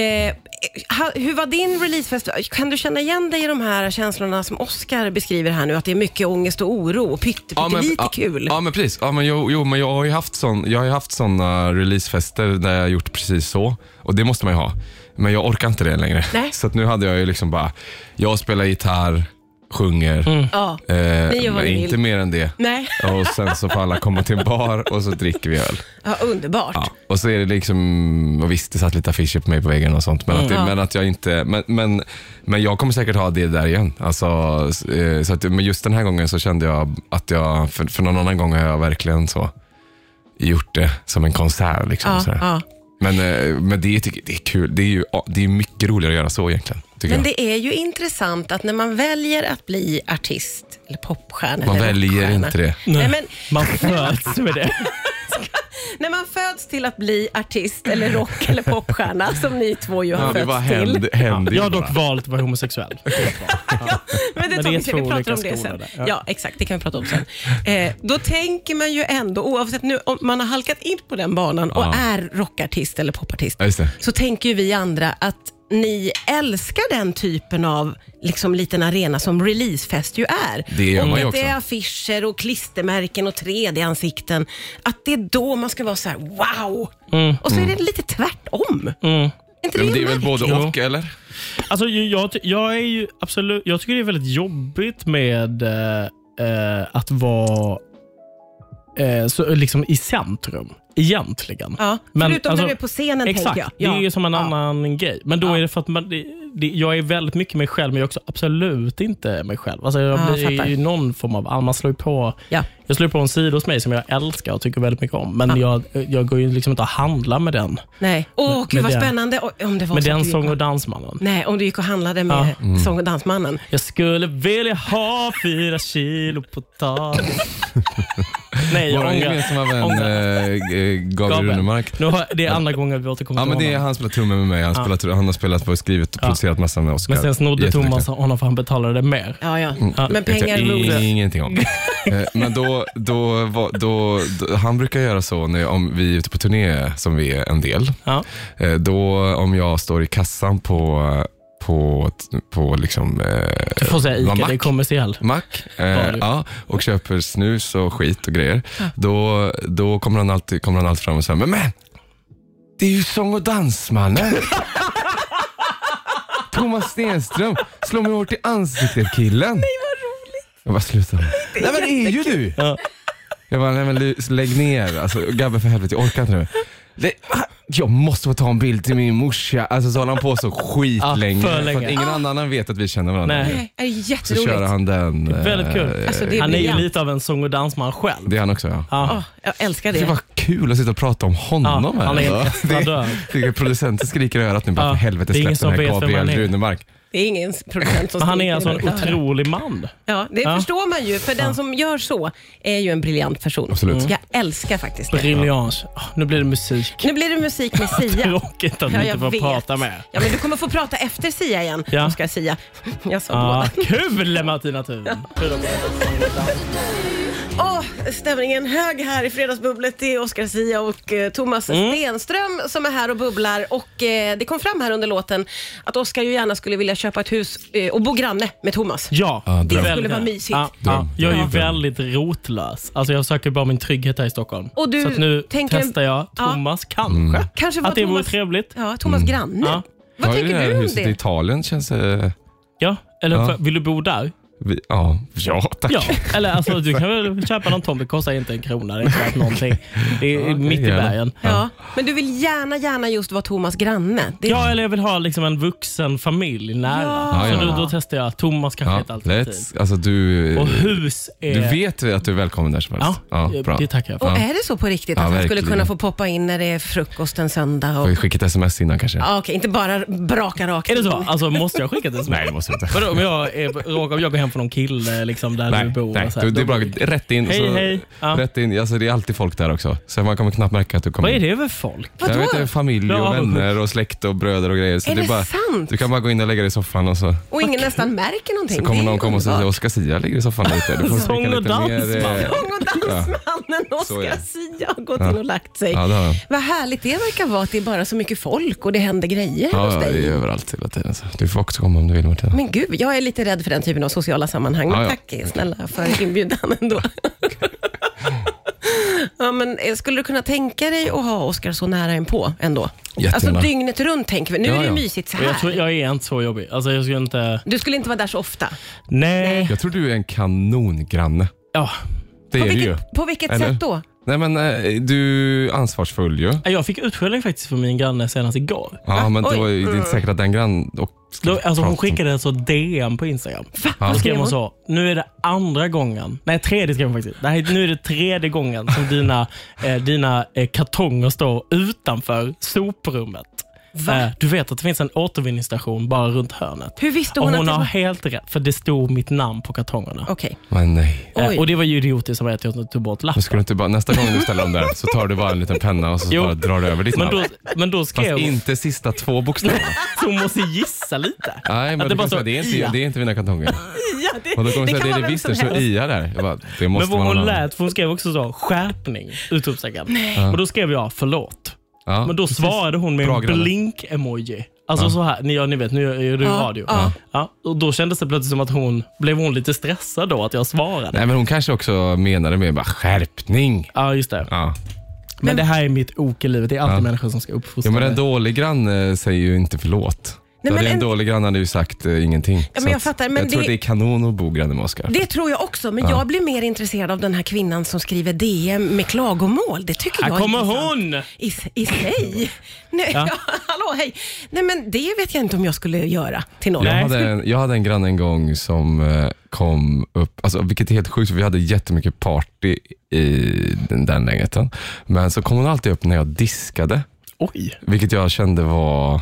Speaker 1: ha- hur var din releasefest? Kan du känna igen dig i de här känslorna som Oscar beskriver här nu? Att det är mycket ångest och oro och pytte, pyttelite
Speaker 2: ja,
Speaker 1: kul.
Speaker 2: Ja, men precis. Ja, men jo, jo, men jag har ju haft, sån, jag har ju haft såna releasefester där jag har gjort precis så. Och det måste man ju ha. Men jag orkar inte det längre.
Speaker 1: Nej.
Speaker 2: Så att nu hade jag ju liksom bara, jag spelar gitarr, sjunger.
Speaker 3: Mm.
Speaker 1: Ja.
Speaker 2: Eh,
Speaker 1: gör vad
Speaker 2: men
Speaker 1: ni vill.
Speaker 2: inte mer än det.
Speaker 1: Nej,
Speaker 2: Och sen så får alla komma till en bar och så dricker vi öl.
Speaker 1: ja, underbart.
Speaker 2: Ja. Och så är det liksom, och visst det satt lite affischer på mig på väggen och sånt, men, att,
Speaker 1: Mm.
Speaker 2: det, men att jag inte, men, men, men jag kommer säkert ha det där igen. Alltså, eh, så att, men just den här gången så kände jag att jag, för, för någon annan gång har jag verkligen så gjort det som en konsert. Liksom,
Speaker 1: Ja,
Speaker 2: sådär.
Speaker 1: ja.
Speaker 2: Men, eh, men det, tycker- det är kul, det är ju det är mycket roligare att göra så egentligen. Tycker
Speaker 1: Men
Speaker 2: jag.
Speaker 1: det är ju intressant att när man väljer att bli artist eller popstjärna
Speaker 2: Man
Speaker 1: eller
Speaker 2: väljer
Speaker 1: rockstjärna-
Speaker 2: inte det.
Speaker 1: Nej, men
Speaker 3: Man föds med det.
Speaker 1: när man föds till att bli artist eller rock eller popstjärna som ni två ju har
Speaker 2: Ja, det
Speaker 1: fötts
Speaker 2: bara
Speaker 1: till.
Speaker 2: händer, händer ju
Speaker 3: Jag har
Speaker 2: bara.
Speaker 3: dock valt att vara homosexuell.
Speaker 1: Men det,
Speaker 3: Men
Speaker 1: tar
Speaker 3: det är
Speaker 1: vi sen. Vi
Speaker 3: två
Speaker 1: pratar
Speaker 3: olika
Speaker 1: om det sen.
Speaker 3: skolor där,
Speaker 1: Ja.
Speaker 3: ja.
Speaker 1: exakt. Det kan vi prata om sen. Eh, då tänker man ju ändå, oavsett nu om man har halkat in på den banan och
Speaker 2: Ja.
Speaker 1: är rockartist eller popartist,
Speaker 2: Ja, just det.
Speaker 1: så tänker ju vi andra att ni älskar den typen av liksom, liten arena som releasefest ju är.
Speaker 2: Det gör
Speaker 1: Om
Speaker 2: man ju
Speaker 1: det är
Speaker 2: också.
Speaker 1: affischer och klistermärken och 3D-ansikten. Att det är då man ska vara så här: wow! Och så är det lite tvärtom. Är Inte det,
Speaker 2: Men det är väl
Speaker 1: märkligt?
Speaker 2: både och eller?
Speaker 3: Alltså, ju- jag, ty- jag, är ju absolut, jag tycker det är väldigt jobbigt med eh, eh, att vara eh, så, liksom i centrum, egentligen.
Speaker 1: Ja,
Speaker 3: Men,
Speaker 1: förutom
Speaker 3: alltså,
Speaker 1: när du är på scenen
Speaker 3: Exakt,
Speaker 1: tänker jag.
Speaker 3: det är ju som en
Speaker 1: Ja.
Speaker 3: annan grej. Men då
Speaker 1: Ja.
Speaker 3: är det för att man, det- det, jag är väldigt mycket mig själv, men jag är också absolut inte mig själv. Alltså, jag
Speaker 1: Ja, jag
Speaker 3: blir
Speaker 1: fattar.
Speaker 3: ju någon form av... Man slår ju på,
Speaker 1: Ja.
Speaker 3: jag slår på en sida hos mig som jag älskar och tycker väldigt mycket om, men jag, jag går ju liksom inte att handla med den.
Speaker 1: Nej. Åh, gud vad
Speaker 3: den-
Speaker 1: spännande. Oj, Om det var
Speaker 3: Med
Speaker 1: så att
Speaker 3: den Mm.
Speaker 1: du gick
Speaker 3: sång och
Speaker 1: och,
Speaker 3: dansmannen.
Speaker 1: Nej, om du gick och handlade med sång och dansmannen.
Speaker 3: Jag skulle vilja ha fyra kilo potatis. Nej, jag
Speaker 2: Vår
Speaker 3: ångrar.
Speaker 2: gemensamma vän eh, eh, Gabriel
Speaker 3: Gabriel.
Speaker 2: Runemark.
Speaker 3: Nu har, det är andra gången vi återkommer
Speaker 2: Ja, men
Speaker 3: till
Speaker 2: det är,
Speaker 3: honom.
Speaker 2: han spelar trummor med mig. Han, spelar, han har spelat, och skrivit och producerat massa med Oscar.
Speaker 3: Men sen snodde
Speaker 2: Jätteduktig.
Speaker 3: Thomas honom för han betalade mer.
Speaker 1: Ja, ja.
Speaker 3: Ja.
Speaker 1: Men
Speaker 2: Vet
Speaker 1: pengar
Speaker 2: jag
Speaker 1: är roligt.
Speaker 2: ingenting om. Eh, Men då, då, var- då, då, han brukar göra så när, om vi är ute på turné, som vi är en del.
Speaker 3: Ja.
Speaker 2: Eh, Då om jag står i kassan på, på, på liksom, eh,
Speaker 3: Du får säga
Speaker 2: Vad
Speaker 3: ICA,
Speaker 2: mack?
Speaker 3: det är kommersiell.
Speaker 2: mack
Speaker 3: Var
Speaker 2: eh,
Speaker 3: du?
Speaker 2: ja, och köper snus och skit och grejer, då, då kommer, han alltid, kommer han alltid fram och säger, men, men det är ju sång och dansmannen. Thomas Stenström, slå mig hårt i ansiktet killen. Nej vad roligt. Jag bara, sluta. Nej men det är ju du.
Speaker 3: Ja.
Speaker 2: Jag bara, nej men lys- lägg ner. Alltså, Gabbe för helvete, jag orkar inte nu. Det, ah, jag måste få ta en bild till min morsa. Alltså så håller han på så skitlänge.
Speaker 3: Ja, för
Speaker 2: För
Speaker 3: länge.
Speaker 2: att ingen annan vet att vi känner varandra.
Speaker 3: Nej.
Speaker 1: Nej, det är
Speaker 2: Så kör
Speaker 1: jätteroligt.
Speaker 2: han den. eh,
Speaker 3: Väldigt kul.
Speaker 1: Alltså, det är
Speaker 3: Han är ju
Speaker 1: briljant.
Speaker 3: lite av en sång och dansman själv.
Speaker 2: Det är han också ja.
Speaker 3: Ja.
Speaker 1: Åh, jag älskar
Speaker 2: Det
Speaker 1: det.
Speaker 2: var kul att sitta och prata om honom
Speaker 3: Ja,
Speaker 2: här.
Speaker 3: han är en
Speaker 2: idag.
Speaker 3: estradör.
Speaker 2: det, det, producenten skriker i örat nu bara,
Speaker 3: Ja,
Speaker 2: för helvete
Speaker 3: det är ingen
Speaker 2: släpp den
Speaker 3: som
Speaker 2: här
Speaker 3: vet vem han
Speaker 2: Gabriel
Speaker 3: är.
Speaker 2: Runemark.
Speaker 1: Det är ingen producent som
Speaker 3: Men han
Speaker 1: skriker
Speaker 3: är alltså en
Speaker 1: i örat.
Speaker 3: otrolig man.
Speaker 1: Ja, det
Speaker 3: Ja.
Speaker 1: förstår man ju. För den som gör så är ju en briljant person.
Speaker 2: Absolut.
Speaker 1: Jag älskar faktiskt det.
Speaker 3: Briljans. Ah, Nu blir det musik.
Speaker 1: Nu blir det musik med Sia.
Speaker 3: Tråkigt att
Speaker 1: Ja,
Speaker 3: vi
Speaker 1: jag
Speaker 3: inte får
Speaker 1: vet.
Speaker 3: prata med.
Speaker 1: Ja, men du kommer få prata efter Sia igen.
Speaker 3: Ja.
Speaker 1: Då ska jag Sia. Jag sa
Speaker 3: Ah,
Speaker 1: båda.
Speaker 3: kul Martina Thun! Kul att-
Speaker 1: Åh, stämningen hög här i Fredagsbubblet. Det är Oscar Sia och eh, Thomas
Speaker 2: Mm.
Speaker 1: Stenström som är här och bubblar. Och eh, Det kom fram här under låten att Oscar ju gärna skulle vilja köpa ett hus eh, och bo granne med Thomas.
Speaker 3: Ja,
Speaker 2: Ja, dröm.
Speaker 1: skulle vara mysigt.
Speaker 3: Ja,
Speaker 2: Dröm,
Speaker 3: ja. Jag är ju
Speaker 2: dröm.
Speaker 3: väldigt rotlös. Alltså jag söker bara min trygghet här i Stockholm.
Speaker 1: Och du
Speaker 3: så att nu
Speaker 1: tänker-
Speaker 3: testar jag Thomas,
Speaker 2: Mm.
Speaker 3: kanske.
Speaker 1: Kanske
Speaker 3: Att det vore
Speaker 1: Thomas,
Speaker 3: trevligt.
Speaker 1: ja, Thomas granne.
Speaker 3: Ja.
Speaker 1: Vad
Speaker 2: Ja,
Speaker 1: tänker
Speaker 2: det här
Speaker 1: du om
Speaker 2: huset
Speaker 1: det?
Speaker 2: i Italien känns... Eh,
Speaker 3: Ja, eller
Speaker 2: Ja.
Speaker 3: för- vill du bo där?
Speaker 2: vi, ja, ja, tack.
Speaker 3: Ja, eller alltså du kan väl köpa någon tomt. Det kostar inte en krona. Det är inte värt någonting. Det är
Speaker 2: det
Speaker 3: mitt i
Speaker 2: gör det.
Speaker 3: bergen.
Speaker 1: Ja, men du vill gärna, gärna just vara Thomas granne. Det,
Speaker 3: Ja, eller jag vill ha liksom en vuxen familj nära.
Speaker 1: Ja.
Speaker 2: Ja,
Speaker 3: Så
Speaker 2: ja.
Speaker 3: då, då testar jag. Thomas kanske
Speaker 2: Ja,
Speaker 3: är ett alternativ.
Speaker 2: let's, alltså du,
Speaker 3: Och hus är...
Speaker 2: du vet att du är välkommen där som
Speaker 3: Ja,
Speaker 2: helst. Ja, bra.
Speaker 3: det tackar jag
Speaker 1: Och
Speaker 3: för.
Speaker 1: är det så på riktigt
Speaker 2: Ja,
Speaker 1: att han skulle
Speaker 2: verkligen.
Speaker 1: kunna få poppa in när det är frukost en söndag? Och...
Speaker 2: Får vi skicka ett sms innan kanske?
Speaker 1: Ja, okej, inte bara braka rakt
Speaker 3: Är det så?
Speaker 1: in.
Speaker 3: Alltså måste jag skicka ett sms?
Speaker 2: Nej, det måste vi inte.
Speaker 3: Vadå om jag, är, råkar- om jag går hem från någon kille liksom, där du
Speaker 2: Nej,
Speaker 3: bor?
Speaker 2: nej
Speaker 3: och så här,
Speaker 2: du, det är
Speaker 3: då-
Speaker 2: bra. Rätt in.
Speaker 3: Hej,
Speaker 2: så,
Speaker 3: hej. Ja.
Speaker 2: Rätt in. Alltså, det är alltid folk där också. Så man kommer knappt märka att du kommer
Speaker 3: Vad är
Speaker 2: in.
Speaker 3: det för folk?
Speaker 2: Jag
Speaker 1: Vadå?
Speaker 2: vet, inte, familj
Speaker 3: Ja,
Speaker 2: och
Speaker 3: avundsjuk.
Speaker 2: vänner och släkt och bröder och grejer. Så
Speaker 1: Är
Speaker 2: det
Speaker 1: det
Speaker 2: bara,
Speaker 1: sant?
Speaker 2: Du kan bara gå in och lägga dig i soffan och så,
Speaker 1: Och ingen nästan märker någonting.
Speaker 2: så kommer
Speaker 1: Det är
Speaker 2: någon komma och säga
Speaker 1: underbart.
Speaker 2: Oscar Sia ligger i soffan lite. Du får
Speaker 3: Sång
Speaker 2: dricka
Speaker 3: och
Speaker 2: lite mer,
Speaker 3: dansman.
Speaker 2: eh,
Speaker 1: Gång och dansmannen
Speaker 2: Så är
Speaker 1: Oscar
Speaker 2: det.
Speaker 1: Sia har gått in och lagt sig.
Speaker 2: Ja, det har jag.
Speaker 1: Vad härligt det verkar vara att det är bara så mycket folk och det händer grejer hos
Speaker 2: Ja, ja,
Speaker 1: dig.
Speaker 2: det är överallt hela tiden. Så. Du får också komma om du vill Martina.
Speaker 1: Men gud, jag är lite rädd för den typen av sociala sammanhang. Men
Speaker 2: Ja, ja.
Speaker 1: tack snälla för inbjudan ändå. ja, men eh, skulle du kunna tänka dig att ha Oscar så nära inpå ändå?
Speaker 2: Jättegärna.
Speaker 1: Alltså dygnet runt tänker vi. Nu
Speaker 2: Ja,
Speaker 1: är det ju
Speaker 2: ja.
Speaker 1: mysigt så
Speaker 3: Och Jag, Eh, tror,
Speaker 1: här.
Speaker 3: jag är inte så jobbig. Alltså, jag skulle inte...
Speaker 1: Du skulle inte vara där så ofta.
Speaker 3: Nej.
Speaker 2: Jag tror du är en kanongranne.
Speaker 3: Ja.
Speaker 2: Det
Speaker 1: På
Speaker 2: är du ju.
Speaker 1: vilket, på vilket
Speaker 2: Eller?
Speaker 1: sätt då?
Speaker 2: Nej men eh, du är ansvarsfull ju.
Speaker 3: Jag fick utskällning faktiskt från min granne senast igår.
Speaker 2: Ja, men
Speaker 1: Oj.
Speaker 2: då är det inte säkert att den grann... Och
Speaker 3: Då, alltså, hon
Speaker 2: Prata.
Speaker 3: skickade alltså DM på Instagram.
Speaker 1: Va?
Speaker 3: Då
Speaker 1: Vad
Speaker 3: skrev
Speaker 1: skrev
Speaker 3: hon
Speaker 1: hon?
Speaker 3: så, nu är det andra gången, nej tredje skrev hon faktiskt. Det här, är- nu är det tredje gången som dina, eh, dina eh, kartonger står utanför soprummet.
Speaker 1: Va?
Speaker 3: Eh, du vet att det finns en återvinningsstation bara runt hörnet.
Speaker 1: Hur visste
Speaker 3: Och
Speaker 1: hon,
Speaker 3: hon
Speaker 1: att
Speaker 3: har
Speaker 1: det var...
Speaker 3: helt rätt, för det stod mitt namn på kartongerna.
Speaker 1: Okej.
Speaker 2: Men nej.
Speaker 1: Oj.
Speaker 3: Eh, och det var ju idiotiskt av mig att jag inte tog bort
Speaker 2: Nu
Speaker 3: lappen.
Speaker 2: ska du inte bara, nästa gång du ställer dem där så tar du bara en liten penna och så
Speaker 3: Jo.
Speaker 2: bara drar du över ditt
Speaker 3: Men
Speaker 2: namn.
Speaker 3: då, men då
Speaker 2: Fast
Speaker 3: skrev hon,
Speaker 2: inte sista två bokstäverna.
Speaker 3: så hon måste gissa lite.
Speaker 2: Nej, men
Speaker 3: det
Speaker 2: det,
Speaker 3: bara
Speaker 2: bara säga,
Speaker 3: står
Speaker 2: det, är
Speaker 3: Ia.
Speaker 2: inte, det är inte mina kartonger.
Speaker 1: Ja, det,
Speaker 2: Och då kommer jag säga, det är det
Speaker 1: vem
Speaker 2: visst,
Speaker 1: som
Speaker 2: det står
Speaker 1: helst.
Speaker 2: Ia där. Jag bara, det måste
Speaker 3: Men vad
Speaker 2: vara någon
Speaker 3: hon
Speaker 2: annan.
Speaker 3: lät, för hon skrev också så, skärpning! Utropstecken. Och då skrev jag förlåt.
Speaker 2: Ja.
Speaker 3: Men då svarade hon med
Speaker 2: Bra
Speaker 3: en
Speaker 2: granne.
Speaker 3: blink-emoji. Alltså så här, ni, ja, ni vet, nu är du
Speaker 1: Ja,
Speaker 3: radio.
Speaker 1: ja.
Speaker 3: Ja, och då kändes det plötsligt som att hon, blev hon lite stressad då att jag svarade?
Speaker 2: Nej, men hon kanske också menade med bara skärpning.
Speaker 3: Ja, just det.
Speaker 2: Ja.
Speaker 3: Men, det här är mitt ok i livet. Det är alltid människor som ska
Speaker 2: ja,
Speaker 3: uppfostra
Speaker 2: men en
Speaker 3: mig.
Speaker 2: dålig granne säger ju inte förlåt. Då
Speaker 1: Nej, men
Speaker 2: hade en,
Speaker 1: en-
Speaker 2: dålig granne hade ju sagt eh, ingenting. Så
Speaker 1: jag
Speaker 2: att
Speaker 1: fattar, men
Speaker 2: jag tror
Speaker 1: det-
Speaker 2: att det är kanon att bo granne med Oscar.
Speaker 1: Det tror jag också, men jag blir mer intresserad av den här kvinnan som skriver DM med klagomål. Det tycker
Speaker 3: Här
Speaker 1: jag
Speaker 3: kommer
Speaker 1: är intressant. I,
Speaker 3: hon!
Speaker 1: I sig? Nej, ja.
Speaker 3: Ja.
Speaker 1: hallå, hej. Nej, men det vet jag inte om jag skulle göra till någon.
Speaker 2: Jag
Speaker 3: Nej.
Speaker 2: hade, en, jag hade en granne en gång som eh, kom upp, alltså, vilket är helt sjukt, för vi hade jättemycket party i den, den lägenheten. Men så kom hon alltid upp när jag diskade,
Speaker 3: Oj.
Speaker 2: vilket jag kände var...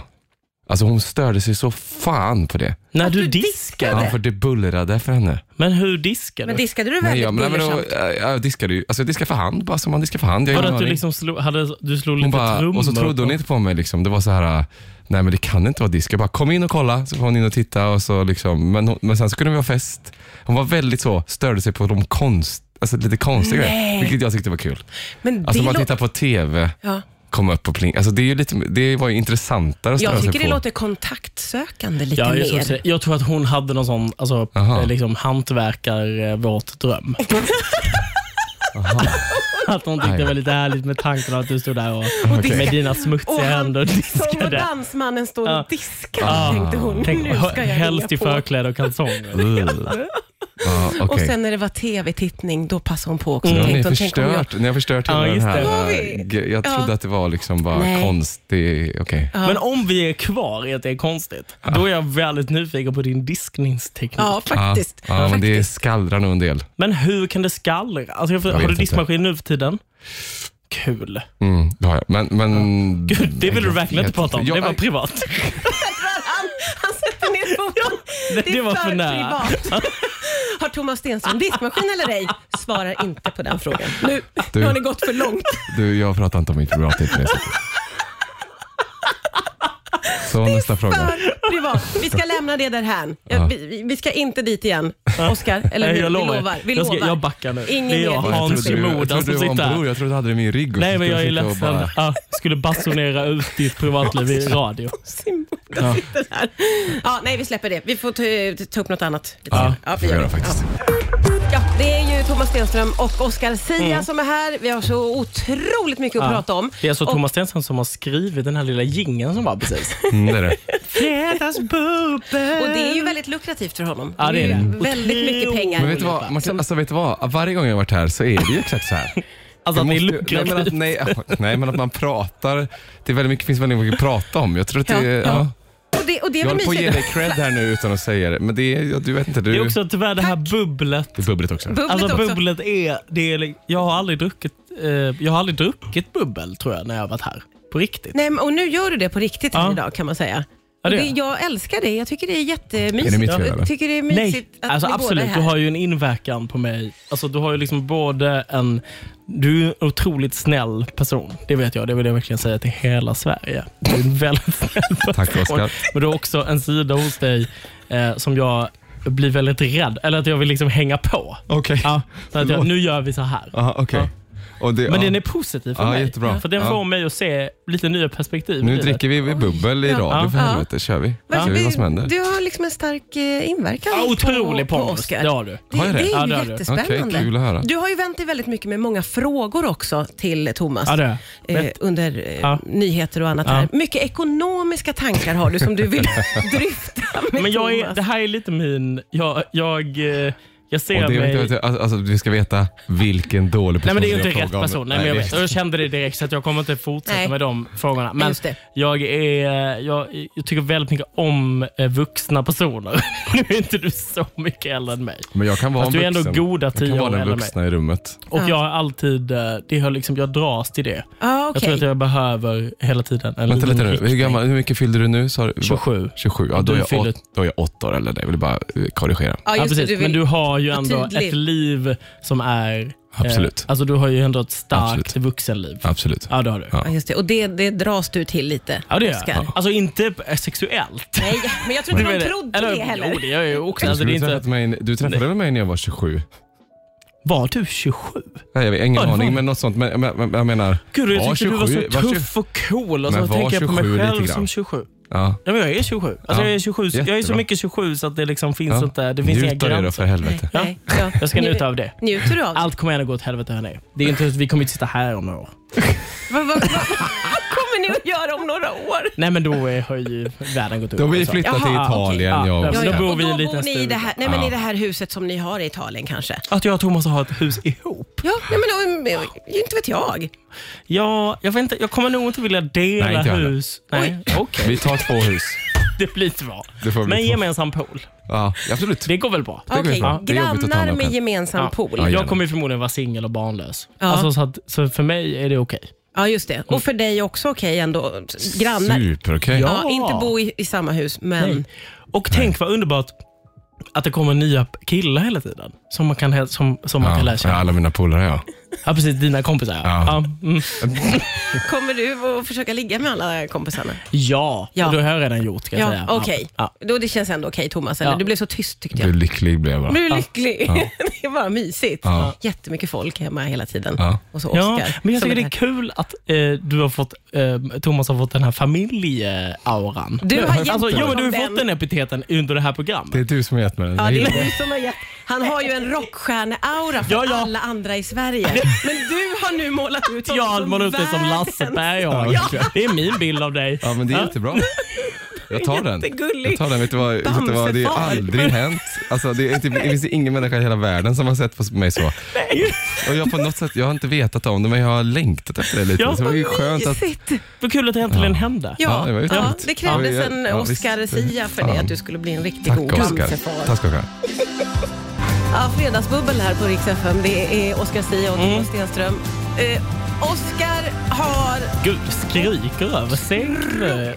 Speaker 2: Alltså hon störde sig så fan på det.
Speaker 3: När
Speaker 1: Att
Speaker 3: du
Speaker 1: du
Speaker 3: diskar?
Speaker 1: diskade.
Speaker 2: Ja, för det bullrade för henne.
Speaker 3: Men hur diskar
Speaker 1: Men
Speaker 3: du?
Speaker 1: diskade du
Speaker 2: Nej,
Speaker 1: väldigt
Speaker 2: jag, men, men,
Speaker 1: bullersamt?
Speaker 2: jag, jag diskade ju, alltså jag diskade för hand, bara som man diskar för hand. Jag har
Speaker 3: Var det
Speaker 2: ingen
Speaker 3: att du
Speaker 2: aning.
Speaker 3: liksom slog, hade, du slog
Speaker 2: Hon
Speaker 3: lite
Speaker 2: bara,
Speaker 3: trummor?
Speaker 2: och så trodde hon inte på mig. Liksom. Det var så här, nej men det kan inte vara disk. Jag bara, kom in och kolla. Så kom hon in och tittade. Och så liksom, men, hon, men sen så kunde vi ha fest. Hon var väldigt så, störde sig på de konst, alltså lite konstiga grejer. Vilket jag tyckte var kul.
Speaker 1: Men
Speaker 2: Alltså
Speaker 1: det
Speaker 2: man
Speaker 1: lå-
Speaker 2: tittar på TV,
Speaker 1: Ja.
Speaker 2: komma upp och plinga. Alltså, det, är ju lite, det var ju intressantare att störa
Speaker 1: Jag
Speaker 2: sig
Speaker 1: tycker
Speaker 2: på.
Speaker 1: det låter kontaktsökande lite
Speaker 3: Ja, jag, skulle
Speaker 1: mer.
Speaker 3: säga- jag tror att hon hade någon sån alltså,
Speaker 2: Aha.
Speaker 3: eh, liksom, hantverkar eh, vårt dröm. att hon tyckte det var lite härligt med tanken av att du stod där och,
Speaker 2: diskade.
Speaker 3: med dina
Speaker 1: Och
Speaker 3: smutsiga
Speaker 1: han
Speaker 3: händer och
Speaker 1: som var
Speaker 3: diskade.
Speaker 1: dansmannen står och
Speaker 3: Ja.
Speaker 1: diskar,
Speaker 3: Ah.
Speaker 1: tänkte hon.
Speaker 3: Tänk,
Speaker 1: nu ska jag hänga
Speaker 3: helst i
Speaker 1: på.
Speaker 3: förkläde och kalsonger.
Speaker 2: Ugh. ja,
Speaker 1: Och
Speaker 2: okej.
Speaker 1: sen när det var tv-tittning, då passade hon på också.
Speaker 3: Mm.
Speaker 2: Nu har ni
Speaker 1: Tänkte hon, tänk om jag-
Speaker 2: förstört, ni har förstört hela
Speaker 3: Ja,
Speaker 2: den
Speaker 3: just det.
Speaker 1: Har
Speaker 2: här.
Speaker 1: vi?
Speaker 2: äh, Jag trodde
Speaker 1: Ja.
Speaker 2: att det var liksom bara
Speaker 1: Nej.
Speaker 2: konstig, okej.
Speaker 3: Men om vi är kvar i att det är konstigt, då är jag väldigt nyfiken på din diskningsteknik.
Speaker 1: Ja, faktiskt.
Speaker 2: Ja, ja, men det
Speaker 1: faktiskt.
Speaker 2: skallrar nog en del.
Speaker 3: Men hur kan det skallra? Alltså, jag,
Speaker 2: vet
Speaker 3: har du
Speaker 2: inte.
Speaker 3: diskmaskin nu för tiden? Kul.
Speaker 2: Mm, det har jag. Men, men,
Speaker 3: Gud, det vill du
Speaker 2: Jag
Speaker 3: verkligen
Speaker 2: vet
Speaker 3: inte prata om.
Speaker 2: Jag,
Speaker 3: Det var privat.
Speaker 1: Han, han sätter ner foten.
Speaker 3: det-
Speaker 1: är
Speaker 3: det var för nära.
Speaker 1: privat. Har Thomas Stenström diskmaskin eller ej? Svarar inte på den frågan. Nu,
Speaker 2: Du.
Speaker 1: nu har ni gått för långt.
Speaker 2: du, jag pratar inte om mitt privatliv på det sättet. Så nästa fråga.
Speaker 1: För privat. Vi ska lämna det därhän.
Speaker 2: Ja.
Speaker 1: Ja. Vi, vi- vi ska inte dit igen. Oskar, eller
Speaker 3: Nej,
Speaker 1: hur?
Speaker 3: jag
Speaker 1: Vi
Speaker 3: lovar.
Speaker 1: lovar. Vi
Speaker 3: Jag ska-
Speaker 1: lovar.
Speaker 3: jag backar nu.
Speaker 1: Ingen
Speaker 3: Det är jag.
Speaker 1: mer.
Speaker 3: Hans
Speaker 2: Jag trodde du-
Speaker 3: Modan
Speaker 2: jag trodde
Speaker 3: som
Speaker 2: du var en
Speaker 3: sitter här.
Speaker 2: bror. Jag trodde du hade det i min rygg. och
Speaker 3: Nej,
Speaker 2: så
Speaker 3: men jag är
Speaker 2: skulle sitta och
Speaker 3: ledsen.
Speaker 2: bara-
Speaker 3: Ja, skulle basunera ut ditt privatliv i radio.
Speaker 1: Sin moder sitter här. Ja, nej, vi släpper det. Vi får ta, ta upp något annat. lite
Speaker 3: Ja,
Speaker 1: senare.
Speaker 2: får vi
Speaker 1: gör
Speaker 2: göra faktiskt.
Speaker 1: Ja, det är ju Thomas Stenström och Oskar Sia
Speaker 3: Mm.
Speaker 1: som är här. Vi har så otroligt mycket att prata om.
Speaker 3: Det är alltså
Speaker 1: Och-
Speaker 3: Thomas Stenström som har skrivit den här lilla jingeln som var precis.
Speaker 2: Mm, det är det.
Speaker 1: Och det är ju väldigt lukrativt för honom.
Speaker 3: Ja, det är
Speaker 1: ju
Speaker 3: det.
Speaker 1: Väldigt mycket pengar.
Speaker 2: Men vet du vad, Martin, alltså, vet du vad? Varje gång jag har varit här så är det ju exakt så här.
Speaker 3: Alltså att ni är
Speaker 2: Jag måste- nej, men att,
Speaker 3: lukrativa.
Speaker 2: nej, ja, nej, men att man pratar. Det är väldigt mycket, finns väldigt mycket att prata om. Jag tror att det
Speaker 1: Ja,
Speaker 2: är...
Speaker 1: ja.
Speaker 2: Ja.
Speaker 1: Och det, och det är
Speaker 2: Jag
Speaker 1: väl
Speaker 2: håller på att ge dig
Speaker 1: mysigt?
Speaker 2: cred här nu utan att säga det. Men det är, ja, du vet inte. Du,
Speaker 3: Det är också tyvärr det här bubblet.
Speaker 2: det är bubbligt också.
Speaker 1: Bubblet
Speaker 3: Alltså
Speaker 1: också.
Speaker 3: bubblet är, det är li- jag har aldrig druckit, eh, jag har aldrig druckit bubbel tror jag när jag har varit här. På riktigt.
Speaker 1: Nej, men- och nu gör du det på riktigt här
Speaker 3: Ja.
Speaker 1: idag kan man säga.
Speaker 3: Ja, det
Speaker 1: Och
Speaker 3: gör jag.
Speaker 1: jag älskar det. Jag tycker det är
Speaker 2: Är det
Speaker 1: jättemysigt.
Speaker 2: mitt fel, eller?
Speaker 1: jag tycker det är
Speaker 3: Nej,
Speaker 1: mysigt att
Speaker 3: alltså
Speaker 1: ni båda är
Speaker 3: absolut.
Speaker 1: här.
Speaker 3: Du har ju en inverkan på mig. Alltså du har ju liksom både en... Du är en otroligt snäll person. Det vet jag. Det vill jag verkligen säga till hela Sverige. Du är en väldigt snäll person.
Speaker 2: Tack, Oskar.
Speaker 3: Men du har också en sida hos dig eh, som jag blir väldigt rädd. Eller att jag vill liksom hänga på.
Speaker 2: Okej.
Speaker 3: Ja, så att jag,
Speaker 2: Förlåt.
Speaker 3: nu gör vi så här.
Speaker 2: Aha, okej. Och det-
Speaker 3: Men
Speaker 2: ja.
Speaker 3: den är positiv för
Speaker 2: Ja,
Speaker 3: mig.
Speaker 2: jättebra.
Speaker 3: För den
Speaker 2: Ja.
Speaker 3: får mig att se lite nya perspektiv. i
Speaker 2: Nu
Speaker 3: livet.
Speaker 2: dricker vi bubbel i radio
Speaker 3: Ja.
Speaker 2: för
Speaker 1: Ja.
Speaker 2: helvete. Kör vi.
Speaker 1: Varför-
Speaker 2: Ser vi vad som
Speaker 1: du,
Speaker 2: händer.
Speaker 1: du har liksom en stark eh, inverkan
Speaker 3: Ja,
Speaker 1: på,
Speaker 3: otrolig
Speaker 1: på
Speaker 3: pondus.
Speaker 1: Oscar.
Speaker 3: Det har du.
Speaker 1: Det,
Speaker 2: Har
Speaker 1: det
Speaker 2: jag det?
Speaker 1: är
Speaker 3: Ja,
Speaker 1: ju
Speaker 3: det har du.
Speaker 1: jättespännande.
Speaker 2: Okej, kul att höra.
Speaker 1: Du har ju vänt dig väldigt mycket med många frågor också till Thomas
Speaker 3: Ja, det har jag.
Speaker 1: eh,
Speaker 3: Vet-
Speaker 1: under eh,
Speaker 3: Ja.
Speaker 1: nyheter och annat.
Speaker 3: Ja.
Speaker 1: Här. Mycket ekonomiska tankar har du som du vill dryfta med
Speaker 3: Men jag är,
Speaker 1: Thomas.
Speaker 3: det här är lite min... Jag, jag, eh, jag ser
Speaker 2: Och det
Speaker 3: mig...
Speaker 2: är, inte- alltså, alltså, vi ska veta vilken dålig person
Speaker 3: Nej men det är ju
Speaker 2: jag
Speaker 3: inte rätt
Speaker 2: frågar om.
Speaker 3: person. Nej, men jag, vet. Och jag kände det direkt så att jag kommer inte fortsätta
Speaker 1: Nej.
Speaker 3: med de frågorna. Men
Speaker 1: Just det.
Speaker 3: jag, är, jag, jag tycker väldigt mycket om eh, vuxna personer. nu är inte du så mycket äldre än mig.
Speaker 2: Men jag kan vara
Speaker 3: Fast
Speaker 2: en
Speaker 3: du är ändå
Speaker 2: vuxen.
Speaker 3: goda
Speaker 2: Jag
Speaker 3: tio
Speaker 2: kan
Speaker 3: år
Speaker 2: vara den
Speaker 3: äldre än
Speaker 2: vuxna i rummet.
Speaker 3: Och
Speaker 1: Ja.
Speaker 3: jag har alltid, eh, det har liksom, jag dras till det.
Speaker 1: Ah,
Speaker 3: Jag tror
Speaker 1: okej.
Speaker 3: att jag behöver hela tiden en
Speaker 2: Vänta
Speaker 3: liten
Speaker 2: lite nu. Hur,
Speaker 3: riktning.
Speaker 2: gammal, hur mycket fyllde du nu? sa du?
Speaker 3: 27.
Speaker 2: 27. Ja, då,
Speaker 3: Du
Speaker 2: är jag
Speaker 3: fyller-
Speaker 2: åt, då är jag åtta år äldre än dig. Jag vill bara eh, korrigera.
Speaker 1: Ja,
Speaker 3: Ja,
Speaker 1: just det,
Speaker 3: precis.
Speaker 1: du vill,
Speaker 3: Men du har ju
Speaker 1: vara
Speaker 3: ändå
Speaker 1: tydlig.
Speaker 3: ett liv som är...
Speaker 2: Absolut.
Speaker 3: alltså du har ju ändå ett starkt
Speaker 2: Absolut.
Speaker 3: vuxenliv.
Speaker 2: Absolut.
Speaker 3: Ja, det har du.
Speaker 2: Ja.
Speaker 1: ja, just det. Och det, det dras du till lite,
Speaker 3: Ja, det gör
Speaker 1: Oscar.
Speaker 3: jag. Alltså inte eh, sexuellt.
Speaker 1: Nej, men jag tror
Speaker 3: Du
Speaker 1: inte de
Speaker 3: menar-
Speaker 1: trodde
Speaker 3: eller,
Speaker 1: det heller.
Speaker 3: Jo, det gör jag ju också.
Speaker 2: Du,
Speaker 3: Alltså, det
Speaker 2: skulle
Speaker 3: är
Speaker 2: träffat
Speaker 3: inte,
Speaker 2: mig, du träffade väl mig när jag var 27?
Speaker 3: var du 27?
Speaker 2: Nej, jag har ingen
Speaker 3: Ja, det var-
Speaker 2: aning, men något sånt. Men, men, men jag menar...
Speaker 3: Gud, jag
Speaker 2: var
Speaker 3: tyckte du var
Speaker 2: 27,
Speaker 3: så
Speaker 2: var
Speaker 3: tuff och cool. Och så
Speaker 2: Men var
Speaker 3: tänker jag på mig
Speaker 2: 27
Speaker 3: själv
Speaker 2: lite grann.
Speaker 3: som 27.
Speaker 2: Ja.
Speaker 3: Ja, men jag är 27. Alltså,
Speaker 2: Ja,
Speaker 3: jag, är 27 så- jag är så
Speaker 2: jättebra.
Speaker 3: mycket 27 så att det liksom finns
Speaker 2: ja.
Speaker 3: inte... Det finns inga
Speaker 2: Njut av det då,
Speaker 3: gränser.
Speaker 2: för helvete.
Speaker 3: Ja.
Speaker 1: Nej, ja.
Speaker 3: Jag ska
Speaker 1: Nju-
Speaker 3: njuta av det.
Speaker 1: Njuter du av det?
Speaker 3: Allt kommer ändå gå åt helvete hörni. Det är inte, vi kommer inte sitta här om några år.
Speaker 1: Vad, vad, vad, vad kommer kommer ni att göra om några år?
Speaker 3: Nej, men då är, har ju världen gått
Speaker 2: Då har
Speaker 3: under.
Speaker 2: vi
Speaker 3: så.
Speaker 2: flyttat till
Speaker 1: Jaha,
Speaker 2: Italien, jag
Speaker 3: okej. Ja,
Speaker 2: och
Speaker 3: ja,
Speaker 1: Ja,
Speaker 3: Då
Speaker 1: ja.
Speaker 2: Oskar.
Speaker 3: bor
Speaker 1: Och
Speaker 3: vi i
Speaker 1: då
Speaker 3: en liten
Speaker 1: bor ni i
Speaker 3: stuga.
Speaker 1: det här, nej, men
Speaker 2: Ja.
Speaker 1: i det här huset som ni har i Italien kanske?
Speaker 3: Att jag och Thomas har ett hus ihop?
Speaker 1: Ja, nej, men då- inte vet jag.
Speaker 3: Ja, jag, vet inte, jag kommer nog inte vilja dela
Speaker 2: Nej, inte jag heller.
Speaker 3: hus. Nej, okej.
Speaker 2: Vi tar två hus.
Speaker 3: Det blir inte bra.
Speaker 2: Det får bli
Speaker 3: Men
Speaker 2: två.
Speaker 3: gemensam pool.
Speaker 2: Ja, absolut.
Speaker 3: Det går väl bra?
Speaker 2: går ju
Speaker 1: Okej,
Speaker 2: bra. Det är jobbigt att ta hand
Speaker 1: Grannar
Speaker 2: om
Speaker 1: med
Speaker 2: själv.
Speaker 1: gemensam
Speaker 3: Ja.
Speaker 1: pool.
Speaker 2: Ja,
Speaker 1: Ja.
Speaker 2: gärna.
Speaker 3: Jag kommer ju förmodligen vara singel och barnlös.
Speaker 1: Ja.
Speaker 3: Alltså, så, att, så för mig är det okej.
Speaker 1: just det. Och
Speaker 3: Mm.
Speaker 1: för dig också okej ändå. Grannar.
Speaker 2: Super, okej.
Speaker 1: Ja,
Speaker 3: Ja.
Speaker 1: inte bo i, i samma hus, men...
Speaker 3: Nej. Och tänk vad underbart att det kommer nya killar hela tiden som man kan, hel- som, som man kan lära
Speaker 2: Ja,
Speaker 3: känna. Ja.
Speaker 2: alla mina polare, ja.
Speaker 3: precis. Dina kompisar. Ja.
Speaker 2: Ja.
Speaker 3: Ja. Mm.
Speaker 1: Kommer du att försöka ligga med alla kompisarna?
Speaker 3: ja.
Speaker 1: Ja.
Speaker 3: Och det har jag redan gjort. Ska jag
Speaker 1: Ja,
Speaker 3: säga.
Speaker 1: okej.
Speaker 3: Ja.
Speaker 1: Då Det känns ändå okej, Thomas. Eller?
Speaker 3: Ja.
Speaker 1: Du blev så tyst tyckte
Speaker 2: Hur
Speaker 1: jag.
Speaker 2: lycklig blev jag bara.
Speaker 1: Blev du lycklig? det är bara mysigt.
Speaker 2: Ja.
Speaker 1: Jättemycket folk hemma hela tiden.
Speaker 2: Ja.
Speaker 1: Och så
Speaker 3: Ja,
Speaker 1: Oscar.
Speaker 3: men jag
Speaker 1: som
Speaker 3: tycker det är
Speaker 1: här-
Speaker 3: kul att eh, du har fått, eh, Thomas har fått den här familjeauran.
Speaker 1: Du har gett
Speaker 3: Alltså, jo, men
Speaker 1: honom
Speaker 3: du har ju
Speaker 1: den.
Speaker 3: fått den epiteten under det här programmet.
Speaker 2: Det är du som har gett mig den.
Speaker 1: Ja, det är du som har gett. Han har ju en rockstjärne-aura för
Speaker 3: Ja, ja.
Speaker 1: alla andra i Sverige. Men du har nu målat ut honom
Speaker 3: Jag
Speaker 1: som
Speaker 3: målar upp dig som Lasse
Speaker 1: världens-
Speaker 3: Berghagen.
Speaker 2: Ja.
Speaker 3: Det är min bild av dig.
Speaker 2: Ja, men det är jättebra. Jag tar den.
Speaker 1: Jättegullig.
Speaker 2: Jag tar den. Vet du vad? Vet du vad? Det har
Speaker 1: Bamsefar.
Speaker 2: aldrig hänt. Alltså, det, är inte, det finns ingen människa i hela världen som har sett på mig så. Och jag, på något sätt, jag har inte vetat om det, men jag har längtat efter det lite.
Speaker 3: Ja,
Speaker 2: så det var ju
Speaker 1: vad
Speaker 2: skönt att...
Speaker 1: mysigt.
Speaker 3: Vad kul att det äntligen hände.
Speaker 1: Ja,
Speaker 2: Ja, det var
Speaker 1: ja,
Speaker 2: ju
Speaker 1: det,
Speaker 2: trevligt.
Speaker 1: krävdes
Speaker 2: Ja,
Speaker 1: en
Speaker 2: ja, visst.
Speaker 1: Oscar-sia för det,
Speaker 2: Ja.
Speaker 1: att du skulle bli en riktigt
Speaker 2: Tack
Speaker 1: god
Speaker 2: Oskar.
Speaker 1: cancerfar.
Speaker 2: Tack Oskar.
Speaker 1: Ja, fredagsbubbel här på Rix FM. Det är Oscar Sia och Thomas
Speaker 3: Mm.
Speaker 1: Stenström. Eh, Oscar har...
Speaker 3: Gud, skriker över sig.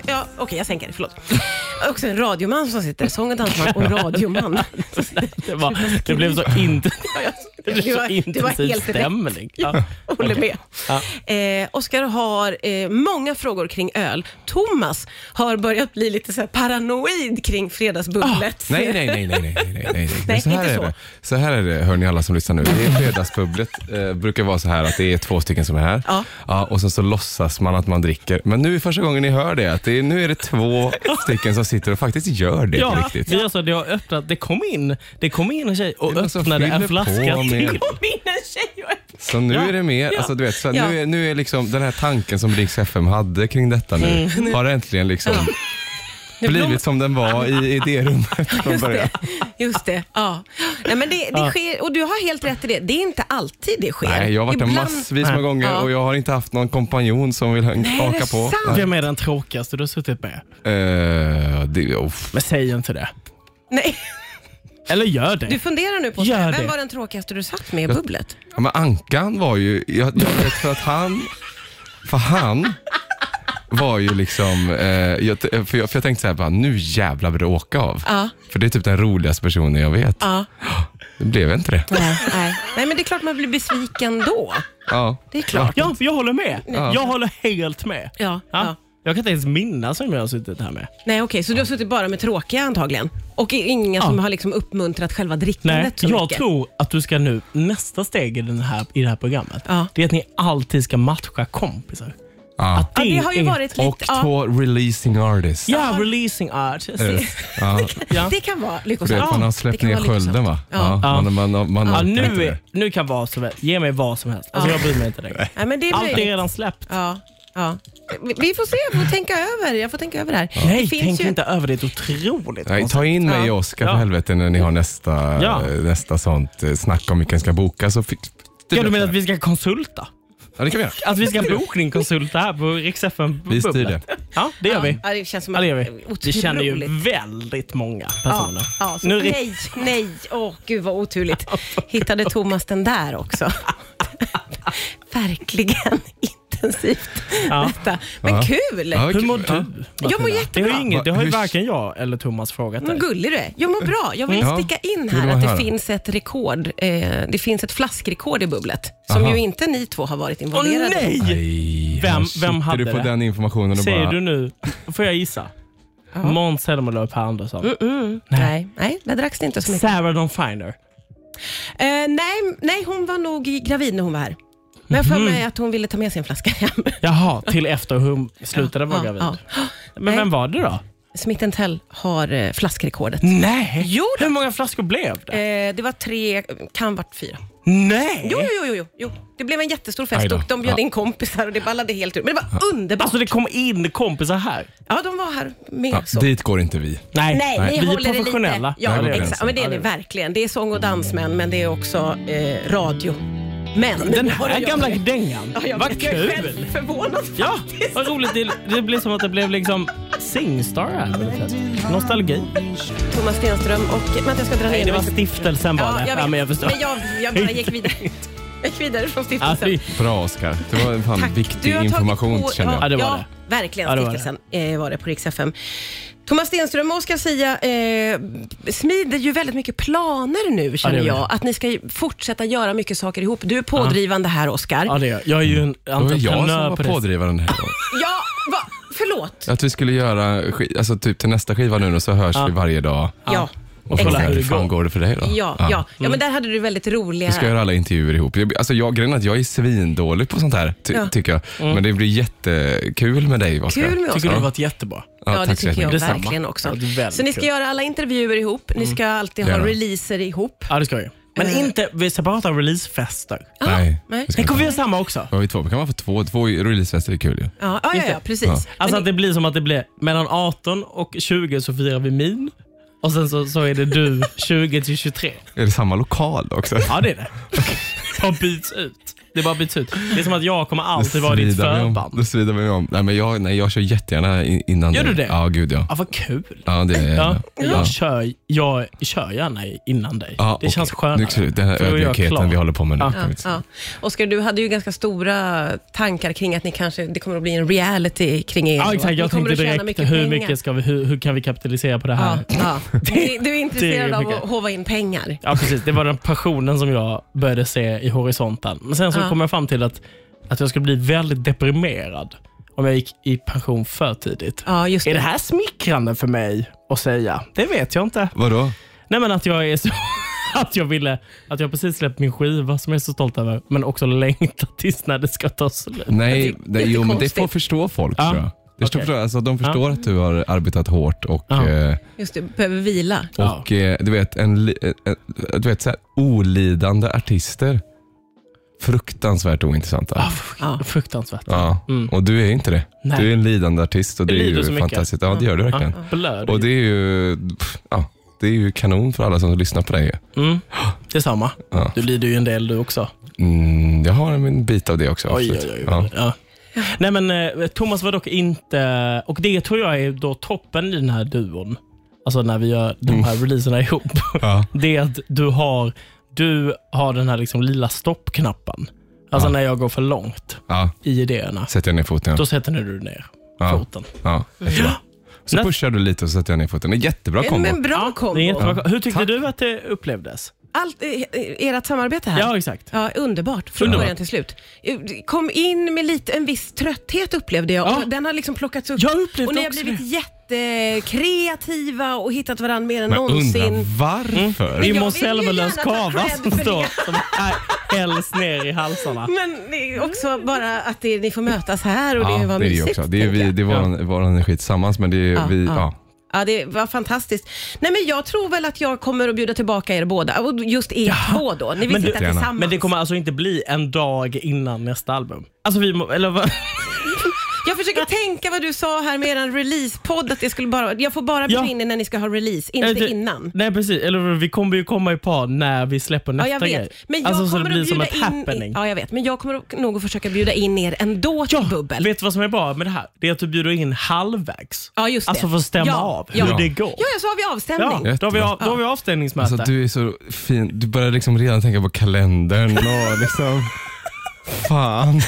Speaker 1: Ja, Okej, jag sänker det. Förlåt. Också en radioman som sitter. Sång och dansman och radioman.
Speaker 3: Det, var, det blev så, inte, det blev
Speaker 1: Du
Speaker 3: så
Speaker 1: var- du var
Speaker 3: intensiv
Speaker 1: helt rätt.
Speaker 3: stämning. Ja.
Speaker 1: Håller med.
Speaker 3: Ja.
Speaker 1: Eh, Oskar har eh, många frågor kring öl. Thomas har börjat bli lite så här paranoid kring fredagsbubblet.
Speaker 3: Ah,
Speaker 2: Nej, nej, nej, nej, nej, nej, nej, nej.
Speaker 1: Nej,
Speaker 2: Men så här
Speaker 1: inte
Speaker 2: är
Speaker 1: så.
Speaker 2: det. Så här är det, hör ni alla som lyssnar nu. Det är fredagsbubblet. Eh, brukar vara så här att det är två stycken som är här.
Speaker 1: Ja.
Speaker 2: och sen så låtsas man att man dricker. Men nu är första gången ni hör det, att det är, nu är det två stycken som sitter och faktiskt gör det på
Speaker 3: Ja,
Speaker 2: riktigt.
Speaker 3: vi alltså, det har öppnat, det kom in, det kom in en tjej och
Speaker 2: Det är någon som
Speaker 3: öppnade
Speaker 2: fyller
Speaker 3: en
Speaker 2: på
Speaker 3: flaska
Speaker 2: med-
Speaker 3: till.
Speaker 1: Min tjej och
Speaker 2: Så nu är det mer, alltså du vet, så här,
Speaker 1: Ja.
Speaker 2: nu, är, nu är liksom den här tanken som Rix FM hade kring detta nu,
Speaker 1: Mm.
Speaker 2: har äntligen liksom blivit som den var i idérummet från början.
Speaker 1: Just det. Ja. Nej, men det, det sker, och du har helt rätt i det. Det är inte alltid det sker.
Speaker 2: Nej, jag har varit där
Speaker 1: Ibland-
Speaker 2: massvis med gånger
Speaker 1: Ja.
Speaker 2: och jag har inte haft någon kompanjon som vill
Speaker 1: är
Speaker 2: hang-
Speaker 1: det
Speaker 2: haka på.
Speaker 1: sant?
Speaker 3: Vem är den tråkigaste du har suttit med?
Speaker 2: Eh, det, uff.
Speaker 3: Men säg inte det.
Speaker 1: Nej,
Speaker 3: Eller gör det.
Speaker 1: du funderar nu på
Speaker 3: Gör
Speaker 1: Gör
Speaker 3: det.
Speaker 1: vem var den tråkigaste du satt med i bubblet?
Speaker 2: Ja, men Ankan var ju, jag, jag vet för att han, för han var ju liksom, eh, jag, för, jag, för jag tänkte så här, bara, nu jävlar blir det åka av.
Speaker 1: Ja.
Speaker 2: För det är typ den roligaste personen jag vet.
Speaker 1: Ja.
Speaker 2: Det blev inte det.
Speaker 1: Nej, nej. nej, men det är klart man blir besviken då.
Speaker 2: Ja.
Speaker 1: Det är klart.
Speaker 3: Ja, jag håller med. Jag håller helt med.
Speaker 1: Ja, ja.
Speaker 3: Jag kan inte ens minnas vem jag har suttit här med.
Speaker 1: Nej, okej, så du har suttit bara med tråkiga antagligen? Och i- inga som har liksom uppmuntrat själva drickandet
Speaker 3: Nej,
Speaker 1: så
Speaker 3: jag
Speaker 1: mycket?
Speaker 3: tror att du ska nu, nästa steg i, den här, i det här programmet,
Speaker 1: Ja.
Speaker 3: det är att ni alltid ska matcha kompisar.
Speaker 2: Ja.
Speaker 3: Att
Speaker 1: Ja, det har ju
Speaker 3: är-
Speaker 1: varit lite...
Speaker 2: Och
Speaker 1: ja,
Speaker 2: två releasing artists.
Speaker 3: Ja, releasing artist.
Speaker 2: Eh, Ja.
Speaker 3: Ja.
Speaker 1: det kan vara
Speaker 2: Det,
Speaker 1: lyckosamt.
Speaker 2: man har
Speaker 1: Det
Speaker 2: släppt
Speaker 1: kan
Speaker 2: ner
Speaker 1: vara lyckosamt.
Speaker 2: skölden va?
Speaker 1: Ja.
Speaker 2: Man, man, man, man
Speaker 3: Ja,
Speaker 2: orkar
Speaker 3: nu,
Speaker 2: inte
Speaker 3: är,
Speaker 2: det.
Speaker 3: nu kan vad som helst. Ge mig vad som helst. Alltså,
Speaker 1: Ja.
Speaker 3: Jag bryr mig inte längre.
Speaker 1: Nej, men det är
Speaker 3: Allt är
Speaker 1: möjligt.
Speaker 3: redan släppt.
Speaker 1: Ja, ja. Vi- Vi får se, jag får tänka över. Jag får tänka över det här.
Speaker 3: Nej,
Speaker 1: det
Speaker 3: tänk inte över det. Det är otroligt
Speaker 2: Nej,
Speaker 3: konstigt.
Speaker 2: ta in mig och Oskar för
Speaker 3: Ja.
Speaker 2: helvete när ni har nästa,
Speaker 3: Ja.
Speaker 2: eh, nästa sånt eh, snack om vilken ska boka. Så fick,
Speaker 3: Ja, du menar att vi ska konsulta?
Speaker 2: Ja, det kan vi göra.
Speaker 3: Att vi ska bokningkonsulta här på Rix FM
Speaker 2: Vi styr det.
Speaker 3: Ja, det gör vi.
Speaker 1: Ja, det känns som
Speaker 3: Ja, det gör vi.
Speaker 1: otroligt.
Speaker 3: Vi känner ju väldigt många
Speaker 1: Ja,
Speaker 3: personer.
Speaker 1: ja, så,
Speaker 3: Nu ri-
Speaker 1: nej, nej, åh gud vad oturligt. Hittade Thomas den där också? Verkligen intensivt
Speaker 3: Ja.
Speaker 1: detta. Men
Speaker 2: Ja.
Speaker 1: kul!
Speaker 2: Ja,
Speaker 3: Hur
Speaker 2: kul.
Speaker 3: mår du?
Speaker 2: Ja.
Speaker 1: Jag mår
Speaker 3: Martina?
Speaker 1: jättebra.
Speaker 3: Det har ju, inget, det har ju
Speaker 2: Hur-
Speaker 3: varken jag eller Thomas frågat dig.
Speaker 1: Vad gullig du är. Jag mår bra. Jag vill
Speaker 2: Ja.
Speaker 1: sticka in
Speaker 2: Vill
Speaker 1: här
Speaker 2: du
Speaker 1: att det
Speaker 2: höra?
Speaker 1: finns ett rekord. Eh, det finns ett flaskrekord i bubblet, som
Speaker 2: Aha.
Speaker 1: ju inte ni två har varit
Speaker 3: Åh
Speaker 1: involverade i.
Speaker 3: nej!
Speaker 2: Aj,
Speaker 3: Vem-
Speaker 2: här
Speaker 3: vem
Speaker 2: sitter
Speaker 3: hade
Speaker 2: du på
Speaker 3: det?
Speaker 2: den informationen och
Speaker 3: Säger
Speaker 2: bara...
Speaker 3: du nu, får jag gissa? Måns Zelmerlöw Per Andersson.
Speaker 1: Mm. Nej, nej, där dracks det inte så mycket.
Speaker 3: Sarah Dawn Finer.
Speaker 1: Eh, nej, nej, hon var nog i- gravid när hon var här. Men jag har för
Speaker 3: Mhm.
Speaker 1: mig att hon ville ta med sig en flaska hem.
Speaker 3: Jaha, till efter hon slutade vara
Speaker 1: Ja,
Speaker 3: gravid.
Speaker 1: ja.
Speaker 3: Men vem var det då?
Speaker 1: Smith Tell har eh, flaskrekordet. Eh,
Speaker 3: Nej!
Speaker 1: Jo då.
Speaker 3: Hur många flaskor blev det?
Speaker 1: Eh, det var tre, kan vart fyra.
Speaker 3: Nej!
Speaker 1: Jo, jo, jo, jo, jo. Det blev en jättestor fest
Speaker 2: Aj då.
Speaker 1: och de bjöd
Speaker 2: Ja.
Speaker 1: in kompisar och det ballade helt ur. Men det var underbart.
Speaker 3: Alltså det kom in kompisar här.
Speaker 1: Ja, de var här med.
Speaker 2: Ja,
Speaker 1: så.
Speaker 2: dit går inte vi.
Speaker 3: Nej,
Speaker 1: Nej,
Speaker 2: Nej.
Speaker 1: ni
Speaker 3: vi
Speaker 1: håller
Speaker 3: är
Speaker 1: det
Speaker 3: professionella.
Speaker 1: lite. Ja,
Speaker 2: Nej, vi är
Speaker 1: exakt.
Speaker 2: professionella.
Speaker 1: Ja, men det är ni verkligen. Det är sång och dansmän, men det är också eh, radio. Men.
Speaker 3: Den
Speaker 1: Vad
Speaker 3: här
Speaker 1: jag-
Speaker 3: gamla dängan.
Speaker 1: Ja, jag
Speaker 3: Vad
Speaker 1: vet, jag är själv
Speaker 3: kul!
Speaker 1: förvånad.
Speaker 3: Ja, vad roligt. Det, det blev som att det blev liksom Singstar här. lite plötsligt. Nostalgi.
Speaker 1: Thomas Stenström och... Vänta, jag ska dra ner
Speaker 3: Nej,
Speaker 1: mig.
Speaker 3: det var stiftelsen bara.
Speaker 1: Ja, jag vet.
Speaker 3: men jag förstår.
Speaker 1: jag, jag bara gick vidare. Jag gick vidare från
Speaker 3: Ja,
Speaker 1: stiftelsen.
Speaker 3: fy.
Speaker 2: Bra Oscar. Det var en fan
Speaker 1: Tack.
Speaker 2: viktig
Speaker 1: har tagit
Speaker 2: information
Speaker 1: på-
Speaker 2: känner
Speaker 1: Ja,
Speaker 2: jag.
Speaker 3: det var
Speaker 1: ja, verkligen.
Speaker 3: Ja, det var
Speaker 1: stiftelsen eh, var det på Rix FM. Thomas Stenström och Oscar Sia eh, smider ju väldigt mycket planer nu, känner
Speaker 3: gör vi.
Speaker 1: jag. Att ni ska ju fortsätta göra mycket saker ihop. Du är pådrivande här, Oscar.
Speaker 3: Ja, det gör jag. Jag är ju en
Speaker 2: Det var jag som
Speaker 3: entreprenör
Speaker 2: var
Speaker 3: på det.
Speaker 2: pådrivaren den här gången.
Speaker 1: Ja, va? Förlåt.
Speaker 2: Att vi skulle göra, sk- alltså typ till nästa skiva nu då, så hörs vi varje dag.
Speaker 1: Ja.
Speaker 2: Och frågar
Speaker 3: Exakt.
Speaker 2: hur fan går det för dig då?
Speaker 1: Ja, ja. ja, men där hade du väldigt roliga...
Speaker 2: Vi Mm. ska göra alla intervjuer ihop. Jag, alltså jag, grejen är att jag är svindålig på sånt här, ty,
Speaker 1: Ja.
Speaker 2: tycker jag. Men det blir jättekul med dig, Oskar.
Speaker 1: Kul med oss.
Speaker 3: Tycker du det varit jättebra?
Speaker 1: Ja, det
Speaker 2: tack så
Speaker 1: tycker jag
Speaker 2: jättemycket.
Speaker 3: Detsamma. Mm.
Speaker 1: verkligen
Speaker 3: Ja,
Speaker 1: också.
Speaker 3: det är väldigt
Speaker 1: så ni ska
Speaker 3: kul.
Speaker 1: göra alla intervjuer ihop, ni ska alltid ha
Speaker 2: Gärna.
Speaker 1: releaser ihop.
Speaker 3: Ja, det ska jag. Men
Speaker 1: Eh.
Speaker 3: inte vid separata releasefester.
Speaker 1: Ja,
Speaker 2: Nej.
Speaker 1: nej.
Speaker 2: Det ska
Speaker 3: Tänk
Speaker 2: inte
Speaker 3: om vi
Speaker 2: vara.
Speaker 3: gör samma också.
Speaker 2: Vad har vi två? kan man få två, två releasefester, är kul ju.
Speaker 1: Ja, ja, ja,
Speaker 3: Just
Speaker 1: ja
Speaker 3: det.
Speaker 1: precis.
Speaker 2: Ja.
Speaker 3: Alltså
Speaker 1: Men
Speaker 3: att det blir som att det blir mellan 18 och 20 så firar vi min. Och sen så, så är det du 20 till 23.
Speaker 2: Är det samma lokal då också?
Speaker 3: Ja, det är det. Bara byts ut. Det bara byts ut. Det är som att jag kommer
Speaker 2: Det
Speaker 3: alltid vara ditt
Speaker 2: svider mig om.
Speaker 3: förband.
Speaker 2: Det svider mig om. Nej, men jag, nej, jag kör jättegärna in- innan
Speaker 3: Gör
Speaker 2: dig.
Speaker 3: du det?
Speaker 2: Ja, gud ja.
Speaker 3: Ja, vad kul.
Speaker 2: Ja, det är
Speaker 3: Ja,
Speaker 2: ja.
Speaker 3: jag, kör, jag kör gärna innan dig.
Speaker 2: Ja,
Speaker 3: det känns
Speaker 2: okej.
Speaker 3: skönare.
Speaker 2: Nu är det slut. Den här
Speaker 3: För då är jag klar.
Speaker 2: ödmjukheten vi håller på med nu.
Speaker 3: Ja.
Speaker 2: kan vi inte säga.
Speaker 1: Ja. Oskar, du hade ju ganska stora tankar kring att ni kanske, det kommer att bli en reality kring er.
Speaker 3: Ja, exakt.
Speaker 1: Ni
Speaker 3: Jag
Speaker 1: kommer
Speaker 3: tänkte
Speaker 1: att tjäna
Speaker 3: direkt, hur,
Speaker 1: pengar.
Speaker 3: mycket ska vi, hur, hur kan vi kapitalisera på det här?
Speaker 1: Ja,
Speaker 3: Ja.
Speaker 1: ja. Du, du är intresserad
Speaker 3: det är
Speaker 1: av
Speaker 3: mycket.
Speaker 1: att håva in pengar.
Speaker 3: precis. Det var den passionen som jag började se i horisonten. Men sen så
Speaker 1: Ja.
Speaker 3: kom jag fram till att, att jag skulle bli väldigt deprimerad om jag gick i pension för tidigt.
Speaker 1: Ja, just
Speaker 3: Är det
Speaker 1: det.
Speaker 3: här smickrande för mig att säga? Det vet jag inte.
Speaker 2: Vadå?
Speaker 3: Nej, men att jag är så... Att jag ville, att jag precis släppt min skiva som jag är så stolt över, men också längtat tills när det ska ta slut.
Speaker 2: Nej,
Speaker 1: Det- det
Speaker 2: det,
Speaker 1: är
Speaker 2: jo, men det
Speaker 1: konstigt.
Speaker 2: får förstå folk
Speaker 3: Ja.
Speaker 2: tror jag. Det står
Speaker 3: Okej.
Speaker 2: för, alltså, de förstår att du har arbetat hårt och,
Speaker 3: Ja.
Speaker 2: eh,
Speaker 1: Just det, behöver vila.
Speaker 3: Ja.
Speaker 2: och eh, du vet, en, li- eh, eh, du vet så här, olidande artister. Fruktansvärt ointressanta.
Speaker 3: Ah, fru-
Speaker 1: Ja.
Speaker 3: Fruktansvärt.
Speaker 2: Ja.
Speaker 3: Mm.
Speaker 2: Och du är inte det.
Speaker 3: Nej.
Speaker 2: Du är en lidande artist och det
Speaker 3: Jag
Speaker 2: är
Speaker 3: lider så
Speaker 2: ju
Speaker 3: mycket.
Speaker 2: fantastiskt. Ja, det gör du verkligen.
Speaker 3: Ja, blöd.
Speaker 2: Och det är ju, pff, ja, det är ju kanon för alla som lyssnar på dig. ju.
Speaker 3: Mm. Detsamma.
Speaker 2: Ja.
Speaker 3: Du lider ju en del du också.
Speaker 2: Mm, jag har en bit av det också.
Speaker 3: Oj, oj,
Speaker 2: absolut.
Speaker 3: oj.
Speaker 2: Ja.
Speaker 3: Ja. Nej, men eh, Thomas var dock inte... Och Det tror jag är då toppen i den här duon. Alltså när vi gör de här releaserna ihop.
Speaker 2: Ja.
Speaker 3: Det är att du har, du har den här liksom lilla stoppknappen. Alltså
Speaker 2: Ja.
Speaker 3: när jag går för långt
Speaker 2: Ja.
Speaker 3: i idéerna.
Speaker 2: Sätter jag ner foten.
Speaker 3: Då
Speaker 2: Ja.
Speaker 3: sätter du ner
Speaker 2: Ja.
Speaker 3: foten.
Speaker 2: Ja. jättebra. Så
Speaker 3: Näst-
Speaker 2: pushar du lite och så sätter jag ner foten. Det är jättebra
Speaker 1: En,
Speaker 2: kombo.
Speaker 1: en bra
Speaker 3: Det är
Speaker 1: kombo.
Speaker 3: jättebra. Hur tyckte du att det upplevdes?
Speaker 1: Allt, eh, ert samarbete här.
Speaker 3: Ja, exakt.
Speaker 1: Ja, underbart från
Speaker 3: Underbart.
Speaker 1: början till slut. Eh, Kom in med lite, en viss trötthet upplevde jag.
Speaker 3: Ja.
Speaker 1: Och den har liksom plockats upp.
Speaker 3: Jag upplevde
Speaker 1: och ni har
Speaker 3: också
Speaker 1: blivit jättekreativa och hittat varandra mer än
Speaker 2: Men undrar
Speaker 1: någonsin. Mm.
Speaker 2: varför?
Speaker 3: Det är
Speaker 1: jag
Speaker 3: Måns
Speaker 1: vill ju
Speaker 3: Zelmerlöws
Speaker 1: gärna ta
Speaker 3: kava
Speaker 1: cred
Speaker 3: som
Speaker 1: för det.
Speaker 3: står som är- hälls ner i halsarna.
Speaker 1: Men det är också bara att det, ni får mötas här och
Speaker 2: Ja,
Speaker 1: det var
Speaker 2: det är det ju
Speaker 1: mysigt.
Speaker 2: också. Det är,
Speaker 1: tänker
Speaker 2: vi,
Speaker 1: jag.
Speaker 2: det är vår, vår energi tillsammans, men det är
Speaker 1: Ja,
Speaker 2: vi,
Speaker 1: ja.
Speaker 2: ja.
Speaker 1: Ja, det var fantastiskt. Nej, men jag tror väl att jag kommer att bjuda tillbaka er båda. Och just er två då. Ni vill
Speaker 3: Men du-
Speaker 1: sitta
Speaker 2: Gärna.
Speaker 1: tillsammans.
Speaker 3: Men det kommer alltså inte bli en dag innan nästa album? Alltså vi må, eller vad?
Speaker 1: Jag försöker tänka vad du sa här med er releasepodd. Att det skulle bara, jag får bara bjuda
Speaker 3: Ja.
Speaker 1: in er när ni ska ha release, inte
Speaker 3: Eller-
Speaker 1: innan.
Speaker 3: Nej precis, eller vi kommer ju komma i par när vi släpper
Speaker 1: Ja,
Speaker 3: nästa
Speaker 1: jag vet.
Speaker 3: grej.
Speaker 1: Men jag
Speaker 3: alltså, så
Speaker 1: kommer
Speaker 3: det blir
Speaker 1: att
Speaker 3: som
Speaker 1: bjuda
Speaker 3: ett
Speaker 1: in,
Speaker 3: happening.
Speaker 1: Ja, jag vet. Men jag kommer nog att försöka bjuda in er ändå till bubbel.
Speaker 3: Vet du vad som är bra med det här? Det är att du bjuder in halvvägs.
Speaker 1: Ja, just det.
Speaker 3: Alltså för att stämma
Speaker 1: Ja,
Speaker 3: av
Speaker 1: ja.
Speaker 3: hur det går.
Speaker 1: Ja, ja, så har vi
Speaker 3: Ja,
Speaker 1: avstämning.
Speaker 3: då har vi, av, då har vi avstängningsmöte.
Speaker 2: Alltså, du är så fin. Du börjar liksom redan tänka på kalendern och liksom... Fan.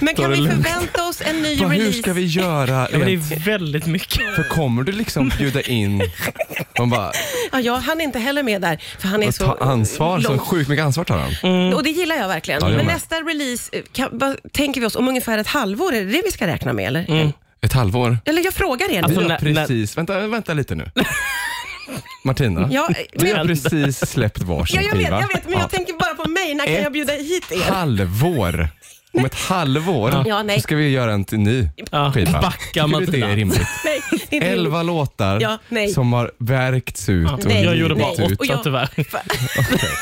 Speaker 1: Men
Speaker 2: Ta
Speaker 1: kan
Speaker 2: det
Speaker 1: vi
Speaker 2: lugnt.
Speaker 1: förvänta oss en ny
Speaker 2: Bara,
Speaker 1: release?
Speaker 2: hur ska vi göra?
Speaker 3: ja, men det
Speaker 2: rent-
Speaker 3: är väldigt mycket.
Speaker 2: För kommer du liksom bjuda in... Man bara,
Speaker 1: Ja, jag hann inte heller med där, för han är
Speaker 2: och
Speaker 1: så
Speaker 2: ta ansvar. Så
Speaker 1: långt.
Speaker 2: sjukt mycket ansvar tar han.
Speaker 3: Mm.
Speaker 1: Och det gillar jag verkligen.
Speaker 2: Ja, jag
Speaker 1: Men
Speaker 2: med.
Speaker 1: nästa release, eh, kan, vad tänker vi oss om ungefär ett halvår? Är det det vi ska räkna med? Eller,
Speaker 2: Ett halvår.
Speaker 1: eller jag frågar er
Speaker 2: Vi
Speaker 1: nu.
Speaker 3: Mm. Alltså,
Speaker 2: har
Speaker 3: när- när-
Speaker 2: precis... Vänta, vänta lite nu. Martina,
Speaker 1: Ja, eh, men,
Speaker 2: vi har
Speaker 1: ja,
Speaker 2: precis släppt varsin
Speaker 1: jag vet,
Speaker 2: skiva.
Speaker 1: jag vet, men jag
Speaker 2: Ja.
Speaker 1: tänker bara på mig. När kan
Speaker 2: Ett
Speaker 1: jag bjuda hit er?
Speaker 2: halvår. Om ett halvår
Speaker 1: Ja, nej.
Speaker 2: så ska vi göra en till ny
Speaker 3: Ja,
Speaker 2: skiva.
Speaker 3: backa
Speaker 2: Tycker du
Speaker 3: Martina.
Speaker 2: det är rimligt?
Speaker 1: Nej, det är inte roligt.
Speaker 2: Elva låtar
Speaker 1: Ja, nej.
Speaker 2: som har värkts ut. och
Speaker 1: Nej,
Speaker 3: jag gjorde bara
Speaker 2: givits
Speaker 1: nej.
Speaker 2: ut.
Speaker 1: Och
Speaker 3: åtta
Speaker 1: jag-
Speaker 3: tyvärr.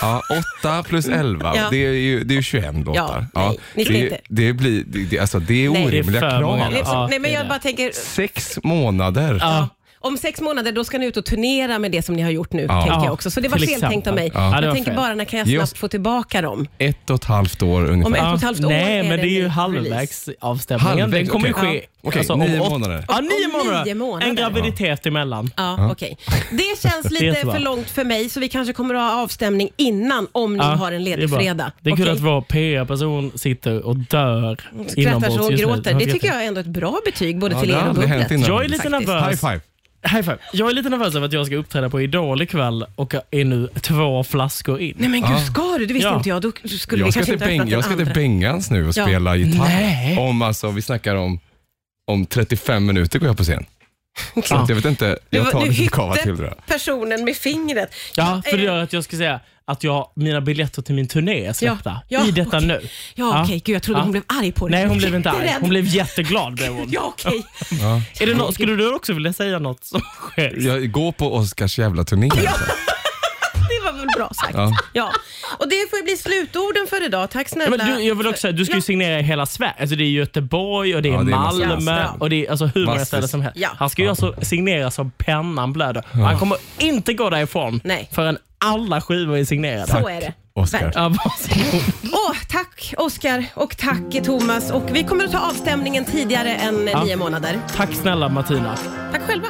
Speaker 2: Ja, 8 plus 11,
Speaker 1: Ja.
Speaker 2: det är ju, det är ju 21 låtar.
Speaker 1: Ja, nej, ni ska
Speaker 2: det,
Speaker 1: inte.
Speaker 2: det, blir, det, det, alltså, det är
Speaker 1: Nej. Det är
Speaker 2: orimliga
Speaker 3: för
Speaker 2: krav.
Speaker 3: många.
Speaker 1: Det är
Speaker 2: Alltså.
Speaker 1: så,
Speaker 3: Ja,
Speaker 1: nej, men
Speaker 3: det är
Speaker 1: jag
Speaker 3: det.
Speaker 1: bara tänker,
Speaker 2: Sex månader.
Speaker 3: Ja.
Speaker 1: om sex månader då ska ni ut och turnera med det som ni har gjort nu, tänker jag också. Så det var
Speaker 3: Till
Speaker 1: fel
Speaker 3: exempel.
Speaker 1: tänkt av mig.
Speaker 3: Ja. Ja, det
Speaker 1: jag
Speaker 3: var
Speaker 1: tänker
Speaker 3: fel.
Speaker 1: bara, när kan jag
Speaker 2: Ge
Speaker 1: snabbt
Speaker 2: oss-
Speaker 1: få tillbaka dem?
Speaker 2: Ett och ett halvt år ungefär.
Speaker 1: Om ett
Speaker 3: Ja.
Speaker 1: och ett halvt år
Speaker 3: Nej,
Speaker 1: är
Speaker 3: men
Speaker 1: det
Speaker 3: det är ju
Speaker 1: en
Speaker 3: halvvägs
Speaker 1: release.
Speaker 3: avstämningen.
Speaker 2: Halvvägs,
Speaker 3: den kommer ju
Speaker 2: okej.
Speaker 3: ske alltså,
Speaker 2: Ja. Okej,
Speaker 3: om
Speaker 2: nio
Speaker 3: åt-
Speaker 2: månader.
Speaker 3: Ja, nio
Speaker 1: Om
Speaker 3: månader.
Speaker 1: nio månader.
Speaker 3: En graviditet emellan.
Speaker 1: Ja, okej. Det känns
Speaker 3: är
Speaker 1: lite
Speaker 3: så bra.
Speaker 1: för långt för mig, så vi kanske kommer att ha avstämning innan om ni
Speaker 3: Ja,
Speaker 1: har en
Speaker 3: det är
Speaker 1: ledig
Speaker 3: bra.
Speaker 1: fredag.
Speaker 3: Det är
Speaker 1: Okej?
Speaker 3: kul
Speaker 1: Mm,
Speaker 3: att vår PR-person sitter och dör
Speaker 1: Skrattar så och
Speaker 3: inombords just nu.
Speaker 1: gråter. Det tycker jag är ändå ett bra betyg både
Speaker 2: Ja,
Speaker 1: till
Speaker 2: det har
Speaker 1: er och
Speaker 2: aldrig hänt
Speaker 1: bubblet.
Speaker 2: innan.
Speaker 3: Jag är lite
Speaker 1: Faktiskt.
Speaker 3: nervös.
Speaker 2: High five.
Speaker 3: High five. Jag är lite nervös över att jag ska uppträda på Idol ikväll och är nu två flaskor in.
Speaker 1: Nej men gud, ska du? Det visste
Speaker 3: Ja.
Speaker 1: inte jag. Då skulle vi
Speaker 2: Jag ska,
Speaker 1: kanske
Speaker 2: till,
Speaker 1: inte ha
Speaker 2: Beng-
Speaker 1: öppnat
Speaker 2: jag
Speaker 1: den
Speaker 2: ska till
Speaker 1: andra.
Speaker 2: Bengans nu och
Speaker 1: Ja.
Speaker 2: spela gitarr.
Speaker 3: Nej.
Speaker 2: Om, alltså, vi snackar om, om 35 minuter går jag på scen. Så
Speaker 3: Ja.
Speaker 2: att jag vet inte, jag tar
Speaker 1: du
Speaker 2: lite kava
Speaker 1: hytte
Speaker 2: till det.
Speaker 1: personen med fingret.
Speaker 3: Ja, för det
Speaker 1: eh,
Speaker 3: gör att jag ska säga att jag, mina biljetter till min turné är släppta
Speaker 1: Ja, ja,
Speaker 3: i detta
Speaker 1: okej.
Speaker 3: nu.
Speaker 1: Ja, okej. Gud, jag trodde
Speaker 3: Ja.
Speaker 1: hon blev arg på dig.
Speaker 3: Nej, hon blev inte arg.
Speaker 1: Jätterädd.
Speaker 3: Hon blev jätteglad. Blev hon.
Speaker 1: Ja, okej.
Speaker 3: Är det nå- skulle du också vilja säga något som sker?
Speaker 2: Jag går på Oscars jävla turné. Alltså.
Speaker 1: Det var väl bra sagt. Ja.
Speaker 2: Ja.
Speaker 1: Och det får ju bli slutorden för idag. Tack
Speaker 3: Ja,
Speaker 1: snälla.
Speaker 3: men du, jag vill också säga, du ska
Speaker 1: Ja.
Speaker 3: ju signera i hela Sverige. Alltså det är Göteborg och det är,
Speaker 2: Ja, det är massa
Speaker 3: Malmö
Speaker 1: ställen.
Speaker 3: och det är alltså hur många
Speaker 2: Massa
Speaker 3: ställen som helst.
Speaker 1: Ja.
Speaker 3: Han ska ju alltså signera som pennan blöder. Och Han kommer inte gå därifrån
Speaker 1: Nej.
Speaker 3: förrän alla skivor är signerade.
Speaker 1: Så är det.
Speaker 2: Oscar.
Speaker 1: Verkligen.
Speaker 3: Ja, varsågod.
Speaker 1: Åh, tack Oskar och tack Thomas. Och vi kommer att ta avstämningen tidigare än eh, nio månader.
Speaker 3: Tack snälla Martina.